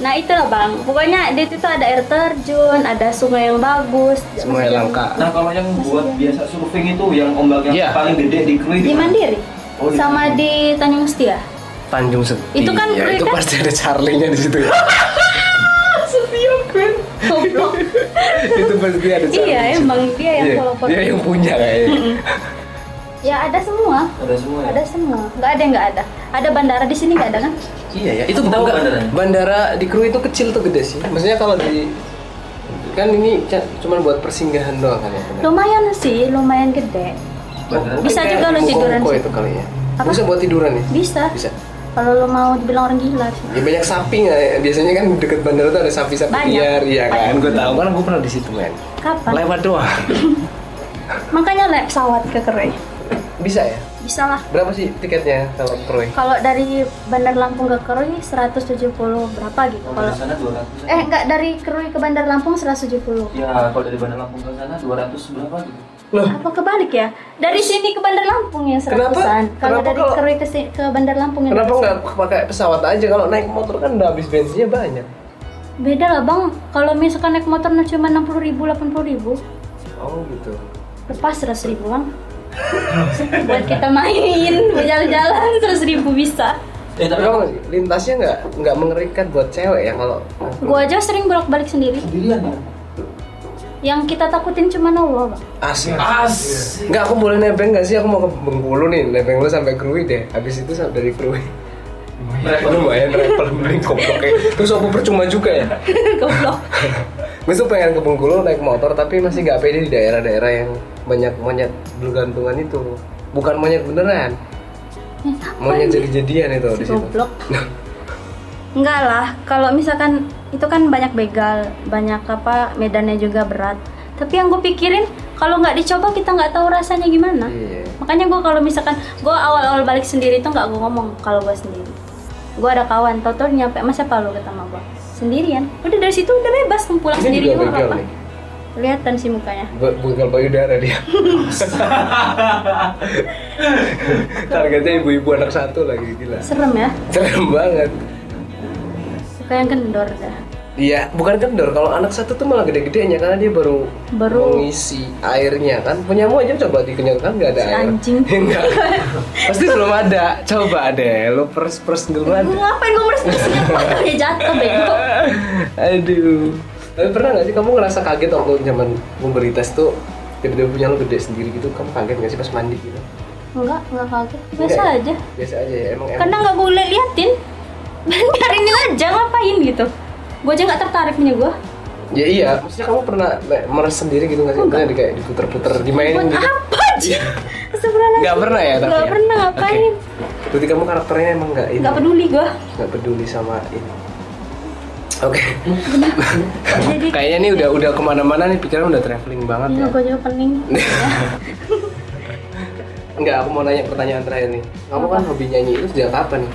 S2: Nah itulah bang. Pokoknya di situ ada air terjun, ada sungai yang bagus.
S1: Semua
S2: Maksudnya-
S1: langka.
S5: Nah, kalau yang buat biasa surfing itu yang ombak yang
S1: Iya.
S5: paling gede di Krui
S2: Di
S5: mana?
S2: Mandiri.
S5: Oh, di
S2: sama di Tanjung Setia.
S1: Tanjung Seti.
S2: Itu kan
S1: ya,
S2: keren
S1: itu
S2: kan?
S1: pasti ada Charlie-nya di situ.
S2: Goblok.
S1: itu pasti ada Charlie.
S2: iya emang dia yang
S1: Iya,
S2: follow
S1: Dia yang punya kayaknya.
S2: Ya ada semua.
S5: Ada semua ya?
S2: Ada semua. Nggak ada yang nggak ada. Ada bandara di sini nggak ada kan?
S1: Iya ya, itu
S5: Tahu
S1: enggak,
S5: bandaranya?
S1: bandara di Krui itu kecil tuh gede sih. Maksudnya kalau di kan ini ca- cuma buat persinggahan doang kan ya. benar?
S2: Lumayan sih, lumayan gede.
S5: Bandara.
S1: Mungkin
S2: Bisa
S1: kayak
S2: juga lo
S1: Mongko-Mongko
S2: tiduran sih.
S1: itu kali ya.
S2: Apa?
S1: Bisa buat tiduran ya?
S2: Bisa.
S1: Bisa.
S2: Kalau lo mau dibilang orang gila sih.
S1: Ya banyak sapi nggak ya? Biasanya kan deket bandara tuh ada sapi-sapi
S2: Banyak.
S1: liar, iya kan?
S2: Banyak.
S1: Gue tahu kan gue pernah di situ men.
S2: Kapan?
S1: Lewat doang.
S2: Makanya naik pesawat ke Kerui.
S1: Bisa ya?
S2: Bisa lah.
S1: Berapa sih tiketnya kalau Krui?
S2: Kalau dari Bandar Lampung ke Kerui 170 berapa gitu.
S5: Kalau
S2: Kalau
S5: dari sana 200.
S2: eh nggak dari Kerui ke Bandar Lampung 170.
S5: Ya, kalau dari Bandar Lampung ke sana 200 berapa gitu?
S1: Loh,
S2: Apa kebalik ya? Dari sini ke Bandar Lampung ya
S1: Kenapa?
S2: seratusan. Kalau
S1: Kenapa
S2: dari
S1: kalau-
S2: Kerui ke, si- ke Bandar Lampung ya.
S1: Kenapa nggak pakai pesawat aja? Kalau naik motor kan udah habis bensinnya banyak.
S2: Beda lah bang, kalau misalkan naik motor nah cuma 60 ribu, 80 ribu
S1: Oh gitu.
S2: Lepas 100 ribu bang Buat kita main, berjalan-jalan 100 ribu bisa
S1: Ya,
S5: Eh,
S1: Tapi
S5: tapi
S1: kamu lintasnya nggak nggak mengerikan buat cewek ya kalau
S2: Gua aja sering bolak-balik sendiri
S3: Sendirian ya?
S2: Yang kita takutin cuma Allah bang
S1: asik.
S5: as
S1: Iya. Nggak aku boleh nebeng nggak sih? Aku mau ke Bengkulu nih, nebeng lu sampai Krui deh. Habis itu sampai dari Krui. Lumayan repel mending goblok kayak. Terus aku percuma juga ya.
S2: Goblok
S1: Gue tuh pengen ke Bengkulu naik motor tapi masih nggak pede di daerah-daerah yang banyak monyet bergantungan itu. Bukan monyet beneran, monyet jadi-jadian itu di situ.
S2: Goblok Enggak lah, kalau misalkan itu kan banyak begal, banyak apa medannya juga berat. Tapi yang gue pikirin kalau nggak dicoba kita nggak tahu rasanya gimana.
S1: Iya.
S2: Makanya gue kalau misalkan gue awal-awal balik sendiri itu nggak gue ngomong kalau gue sendiri. Gue ada kawan, tau-tau nyampe mas siapa lu ketemu gue sendirian. Udah dari situ udah bebas mau pulang
S1: Ini
S2: sendiri
S1: juga
S2: juga nggak
S1: begal
S2: apa-apa.
S1: nih.
S2: Kelihatan sih mukanya.
S1: Bu- Bukan payudara dia. Targetnya ibu-ibu anak satu lagi gila.
S2: Serem ya,
S1: Serem banget.
S2: suka yang kendor dah.
S1: Iya, bukan kendor. Kalau anak satu tuh malah gede-gedenya karena dia baru
S2: Baru-
S1: mengisi airnya kan. Punyamu aja coba dikenyangkan nggak ada
S2: Si
S1: air.
S2: anjing.
S1: Enggak. Pasti belum ada. Coba deh, lo pers pers dulu
S2: Gue
S1: ada.
S2: ngapain gue meres-meres motor ya jatuh bego.
S1: Aduh. Tapi pernah nggak sih kamu ngerasa kaget waktu zaman memberi tes tuh tiba-tiba punya lo gede sendiri gitu? Kamu kaget nggak sih pas mandi gitu?
S2: Enggak, enggak kaget.
S1: Enggak
S2: Biasa
S1: ya?
S2: aja.
S1: Biasa aja ya. Emang
S2: karena nggak gue liatin biarinin aja ngapain gitu gue aja nggak tertarik punya gue
S1: Ya iya. Maksudnya kamu pernah like, merasa sendiri gitu nggak sih? Maksudnya di- kayak diputer-puter, dimainin
S2: buat
S1: gitu?
S2: apa sih sebenarnya
S1: Nggak pernah ya tapi
S2: nggak
S1: ya?
S2: pernah ngapain
S1: Oke. Berarti kamu karakternya emang nggak ini?
S2: nggak peduli gue
S1: nggak peduli sama ini. Oke,
S2: jadi
S1: kayaknya ini udah udah kemana-mana nih pikiran udah traveling banget
S2: Iya,
S1: ya.
S2: gue juga pening
S1: Enggak, aku mau nanya pertanyaan terakhir nih. Kamu kan hobi nyanyi itu sejak kapan nih?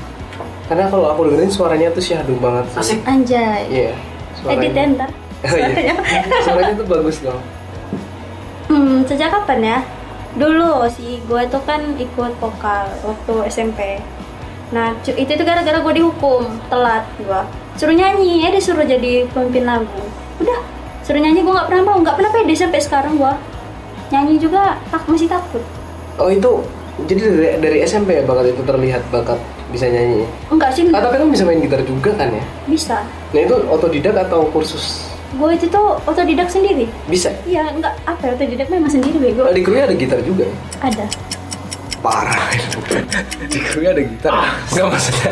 S1: Karena kalau aku dengerin suaranya tuh syahdu banget. sih.
S5: Asik.
S2: anjay
S1: Iya.
S2: edit ya ntar
S1: Oh, iya. Suaranya tuh bagus dong.
S2: hmm sejak kapan ya dulu sih gue tuh kan ikut vokal waktu SMP nah cu- itu tuh gara-gara gue dihukum telat gue suruh nyanyi ya disuruh jadi pemimpin lagu udah suruh nyanyi gue nggak pernah mau nggak pernah pede sampai sekarang gue nyanyi juga tak masih takut
S1: Oh itu jadi dari, dari SMP ya bakat itu terlihat bakat bisa nyanyi. ya?
S2: enggak sih
S1: Ah, tapi kamu bisa main gitar juga kan ya?
S2: bisa
S1: Nah itu otodidak atau kursus?
S2: gue itu tuh otodidak sendiri
S1: Bisa.
S2: iya enggak apa ya otodidak memang sendiri bego
S1: Kalau di Krui ada gitar juga ya?
S2: ada
S1: parah di kru ada gitar nggak maksudnya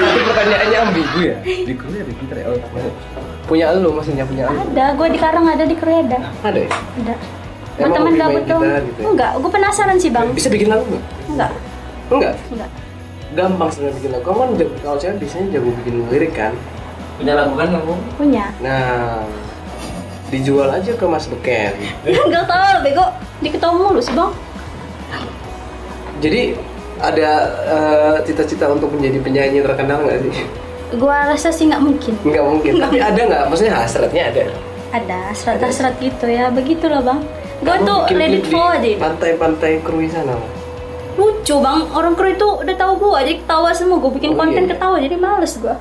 S1: itu pertanyaannya ambigu ya di kru ada gitar ya oh, maksudnya. punya lu maksudnya punya lu
S2: ada gue di Karang ada di Korea ada
S1: ada ya
S2: ada
S1: Emang
S2: teman-teman
S1: hobi
S2: gabut
S1: main
S2: dong
S1: gitar gitu ya?
S2: enggak gue penasaran sih bang
S1: bisa bikin lagu nggak
S2: enggak
S1: enggak
S2: enggak
S1: gampang sebenarnya bikin lagu kamu kan jago- kalau cewek biasanya jago bikin lirik kan
S5: punya lagu kan kamu
S2: punya
S1: nah dijual aja ke Mas Beken
S2: ya enggak tahu bego diketahui mulu sih bang
S1: jadi ada eh, cita-cita untuk menjadi penyanyi terkenal nggak sih
S2: gua rasa sih nggak mungkin
S1: nggak mungkin tapi ada nggak maksudnya hasratnya ada
S2: ada serat-serat gitu ya begitulah bang gua
S1: Kamu
S2: tuh
S1: bikin
S2: let it
S1: di
S2: flow aja
S1: pantai-pantai krui sana Mas.
S2: lucu bang orang kru itu udah tahu gua jadi ketawa semua gua bikin
S1: Oh,
S2: konten
S1: iya.
S2: ketawa jadi males gua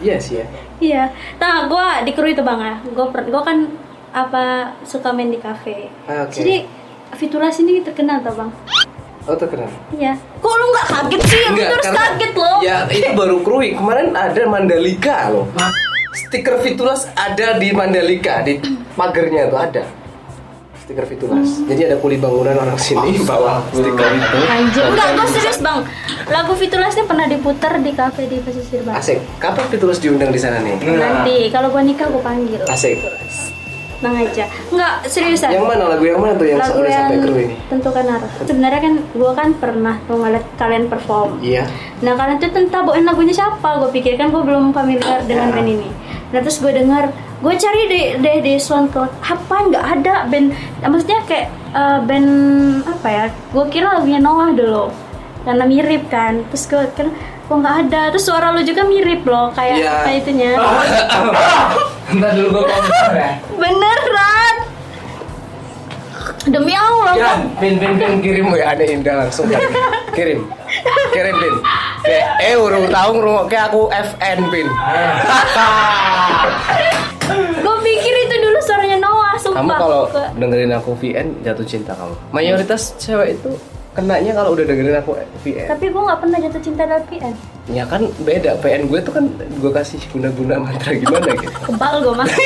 S1: iya sih ya
S2: iya nah gua di kru itu bang ya gua per- gua kan apa suka main di kafe
S1: Ah, oke.
S2: jadi Fitulas ini terkenal tau bang
S1: oh terkenal
S2: iya kok lu nggak kaget sih lu
S1: Enggak,
S2: harus
S1: karena-
S2: kaget Iya, loh
S1: Ya itu baru krui. Kemarin ada Mandalika loh. Stiker Fitulas ada di Mandalika di pagernya tuh ada. Stiker
S2: Hmm.
S1: Fitulas. Jadi ada kuli bangunan orang sini bawa stiker itu.
S2: Anjir, enggak,
S1: kan-
S2: gua serius bang Lagu Fitulasnya pernah diputar di kafe di pesisir bang
S1: Asik. Kapan Fitulas diundang di sana nih?
S2: Nanti kalau gua nikah gua panggil.
S1: Asik.
S2: Bang aja. Enggak, seriusan.
S1: Yang mana lagu yang mana tuh yang
S2: lagu
S1: sampai
S2: yang
S1: sampai krui ini?
S2: tentukan arah. Sebenarnya kan gua kan pernah tuh ngeliat kalian perform.
S1: Iya.
S2: Nah, kalian tuh tentang bawain lagunya siapa? Gua pikir kan gua belum familiar dengan band ini. Nah, terus gua dengar, gua cari deh deh di SoundCloud, apa nggak ada band Nah, maksudnya kayak eh, band apa ya? Gua kira lagunya Noah dulu. Karena mirip kan. Terus gua kan kok nggak ada. Terus suara lu juga mirip loh kayak
S1: Iya.
S2: apa itunya.
S5: ntar dulu gue komentar ya
S2: Beneran. Demi
S1: Iya.
S2: Allah.
S1: Pin pin pin kirim ya ada Indah langsung kan. Kirim. Kirim pin. Dek, eh urung tau ngrungokke aku FN pin. Ah.
S2: Gue pikir itu dulu suaranya Noah, sumpah.
S1: kamu kalau
S2: Gua-
S1: dengerin aku VN jatuh cinta kamu. Mayoritas cewek itu kenanya kalau udah dengerin aku VN.
S2: tapi gue nggak pernah jatuh cinta dari PN.
S1: Ya kan beda PN gue tuh kan gue kasih guna-guna mantra gimana gitu.
S2: Kebal gue mah.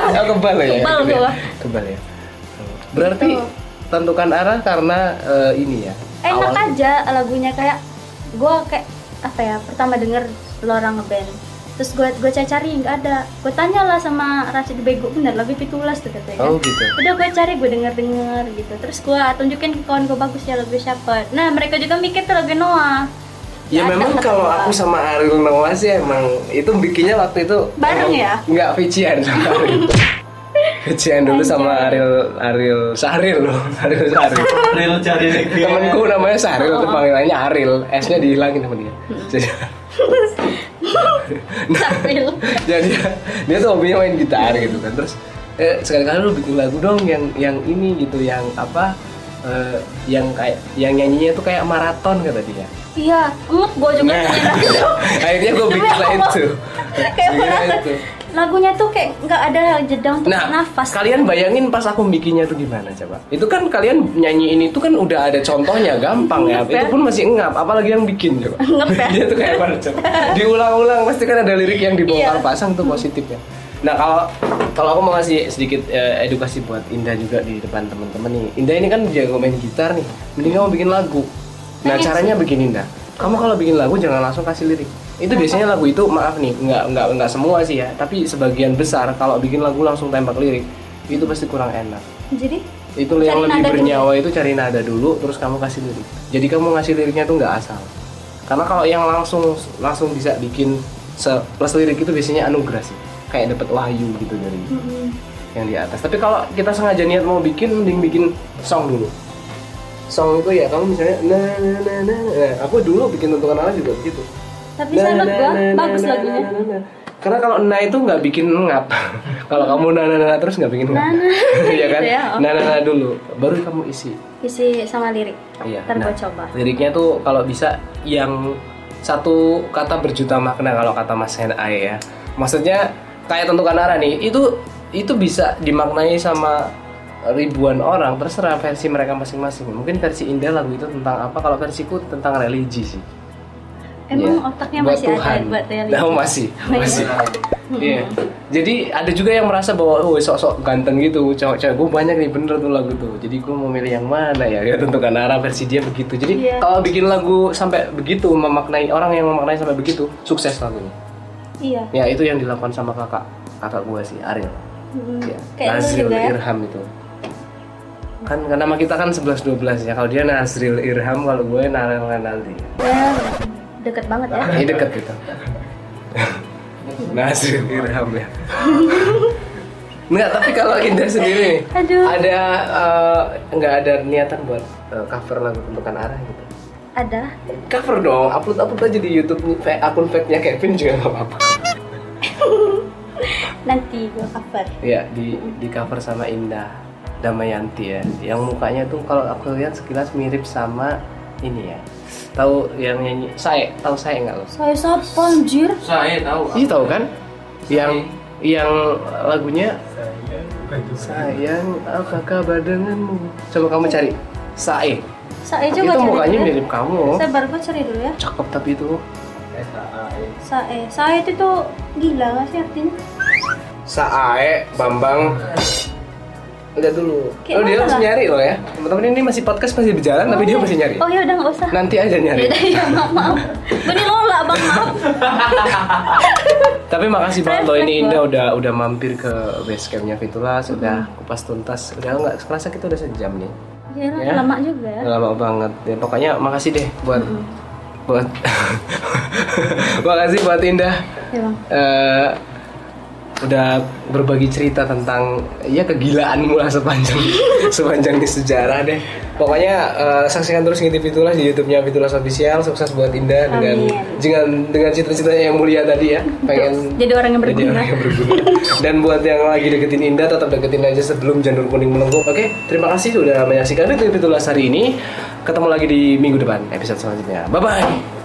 S1: Oh, kebal ya.
S2: Kebal
S1: gitu ya.
S2: gua.
S1: Kebal ya. Berarti tentukan arah karena eh, ini ya.
S2: Enak
S1: awal-
S2: aja lagunya kayak gue kayak apa ya pertama denger lo orang ngeband terus gue gue cari nggak ada gue tanya lah sama Rashid Bego bener lebih pitulas tuh katanya kan.
S1: Oh gitu.
S2: udah gue cari gue denger denger gitu terus gue tunjukin ke kawan gue bagus ya lagu siapa nah mereka juga mikir tuh lagu Noah
S1: Ya
S2: Ada
S1: memang
S2: tetep
S1: kalau
S2: gua.
S1: aku sama Ariel Noah sih emang itu bikinnya waktu itu
S2: Bareng ya?
S1: Enggak Vician sama Ariel. Vician dulu sama Ariel Ariel Sahril loh, Ariel Sahril.
S5: Real cari
S1: Temenku namanya Sahril,
S2: Oh,
S1: tuh panggilannya Ariel. S-nya dihilangin sama dia.
S2: Hmm.
S1: Jadi,
S2: Saril
S1: jadi dia, dia tuh hobinya main gitar gitu kan. Terus eh, sekali-kali lu bikin lagu dong yang yang ini gitu, yang apa? eh, yang kayak yang nyanyinya tuh kayak maraton kata dia.
S2: iya emut gue juga
S1: Nah.
S2: punya lagu
S1: Akhirnya gue bikin lah itu.
S2: kayak
S1: Bikin lah
S2: merasa
S1: itu.
S2: lagunya tuh kayak nggak ada jeda untuk
S1: Nah,
S2: nafas
S1: kalian bayangin pas aku bikinnya tuh gimana coba? Itu kan kalian nyanyiin itu kan udah ada contohnya gampang ya.
S2: Ngep ya.
S1: Itu pun masih ngap, apalagi yang bikin coba.
S2: Ngep ya.
S1: Dia tuh kayak mana coba? Diulang-ulang pasti kan ada lirik yang dibongkar
S2: Iya.
S1: pasang tuh positifnya. Nah, kalau kalau aku mau ngasih sedikit eh, edukasi buat Indah juga di depan temen-temen nih. Indah ini kan jago main gitar nih. Mending kamu bikin lagu. Nah,
S2: Pengen
S1: caranya begini Indah. Kamu kalau bikin lagu jangan langsung kasih lirik. Itu biasanya lagu itu maaf nih, nggak nggak nggak semua sih ya, tapi sebagian besar kalau bikin lagu langsung tembak lirik itu pasti kurang enak.
S2: jadi
S1: Itu yang
S2: Cari
S1: lebih
S2: nada dulu.
S1: bernyawa itu cari nada dulu terus kamu kasih lirik. Jadi kamu ngasih liriknya tuh nggak asal. Karena kalau yang langsung langsung bisa bikin se- plus lirik itu biasanya anugerah sih. Kayak dapat wahyu gitu dari
S2: mm,
S1: yang di atas. Tapi kalau kita sengaja niat mau bikin, mending bikin song dulu. Song itu ya kamu misalnya, nah, nah, nah, nah, nah. aku dulu bikin tentukan arah juga begitu.
S2: tapi
S1: Nah,
S2: salut
S1: nah,
S2: gue
S1: nah,
S2: bagus
S1: nah,
S2: lagunya
S1: nah, nah, nah. Karena kalau na itu nggak bikin ngap. kalau kamu na na na terus nggak bikin ngap.
S2: Nah, nah,
S1: Iya kan?
S2: gitu ya, oh.
S1: Na na na dulu, baru kamu isi.
S2: isi sama lirik
S1: Iya.
S2: ntar
S1: nah,
S2: gue coba
S1: Liriknya tuh kalau bisa yang satu kata berjuta makna kalau kata Mas Henai ya. Maksudnya kayak tentukan arah nih, itu itu bisa dimaknai sama ribuan orang terserah versi mereka masing-masing. Mungkin versi Indah lagu itu tentang apa? Kalau versiku tentang religi sih. Iya.
S2: emang otaknya
S1: Buat
S2: masih
S1: Tuhan.
S2: ada buat Iya. religi
S1: Nah, masih, masih. Iya. Jadi ada juga yang merasa bahwa oh sok-sok ganteng gitu, cowok-cowok gue banyak nih bener tuh lagu tuh. Jadi gue mau milih yang mana ya? Ya tentukan arah versi dia begitu. Jadi
S2: Iya.
S1: kalau bikin lagu sampai begitu memaknai orang yang memaknai sampai begitu sukses lagunya.
S2: iya
S1: Ya itu yang dilakukan sama kakak kakak gue sih Ariel.
S2: Mm,
S1: Ya,
S2: kayak lu
S1: Nazril
S2: juga ya
S1: Irham itu. Kan karena nama kita kan 11 12 ya. Kalau dia Nazril Irham, kalau gue Narel Renaldi.
S2: Eh, deket banget ya
S1: Ini deket gitu. Nasir Irham ya. Nggak, tapi kalau Indah sendiri
S2: Aduh.
S1: ada eh, nggak ada niatan buat eh, cover lagu tentukan arah gitu.
S2: ada
S1: Cover dong, upload upload aja di YouTube nih, fa- akun fake-nya Kevin juga nggak apa-apa.
S2: nanti gue cover
S1: Iya di di cover sama Indah Damayanti ya. Yang mukanya tuh kalau aku lihat sekilas mirip sama ini ya. Tahu yang nyanyi saya, tahu saya nggak lo?
S2: saya siapa anjir
S5: Saya tahu.
S1: Iya tahu kan? Yang yang lagunya Sayang, apa kabar denganmu? Coba kamu cari. Sae.
S2: saya
S1: Itu
S2: juga cari
S1: mukanya
S2: dulu ya.
S1: mirip kamu.
S2: Sabar gue cari dulu ya
S1: Cakep tapi itu.
S2: Sae Sae itu tuh gila gak sih artinya?
S1: Sae, Bambang. Lihat dulu.
S2: Kayak
S1: oh, dia
S2: mana
S1: masih
S2: lah?
S1: nyari loh ya. Teman-teman ini masih podcast masih berjalan tapi dia masih nyari. Nah.
S2: Oh ya udah gak usah
S1: Nanti aja nyari.
S2: Yaudah ya maaf maaf Gue nih lola bang maaf
S1: Tapi makasih banget loh
S2: Refleks
S1: ini
S2: loh.
S1: Indah udah udah mampir ke basecampnya Fitula, sudah kupas tuntas. Udah nggak kerasa kita udah sejam nih.
S2: Ya,
S1: Ya.
S2: lama juga ya
S1: lama banget ya pokoknya makasih deh buat buat makasih buat Indah
S2: Ya bang
S1: Eh, udah berbagi cerita tentang ya kegilaanmu lah sepanjang sepanjang di sejarah deh pokoknya eh, saksikan terus ngintip Fitulas di YouTube-nya Fitulas official sukses buat Indah dengan
S2: Amin.
S1: dengan dengan cita-citanya yang mulia tadi ya pengen
S2: Jadi orang yang
S1: jadi
S2: berguna
S1: orang yang berguna. Dan buat yang lagi deketin Indah tetap deketin aja sebelum janur kuning melengkung. Oke, terima kasih sudah menyaksikan Fitri Fitulas hari ini. Ketemu lagi di minggu depan episode selanjutnya. Bye bye.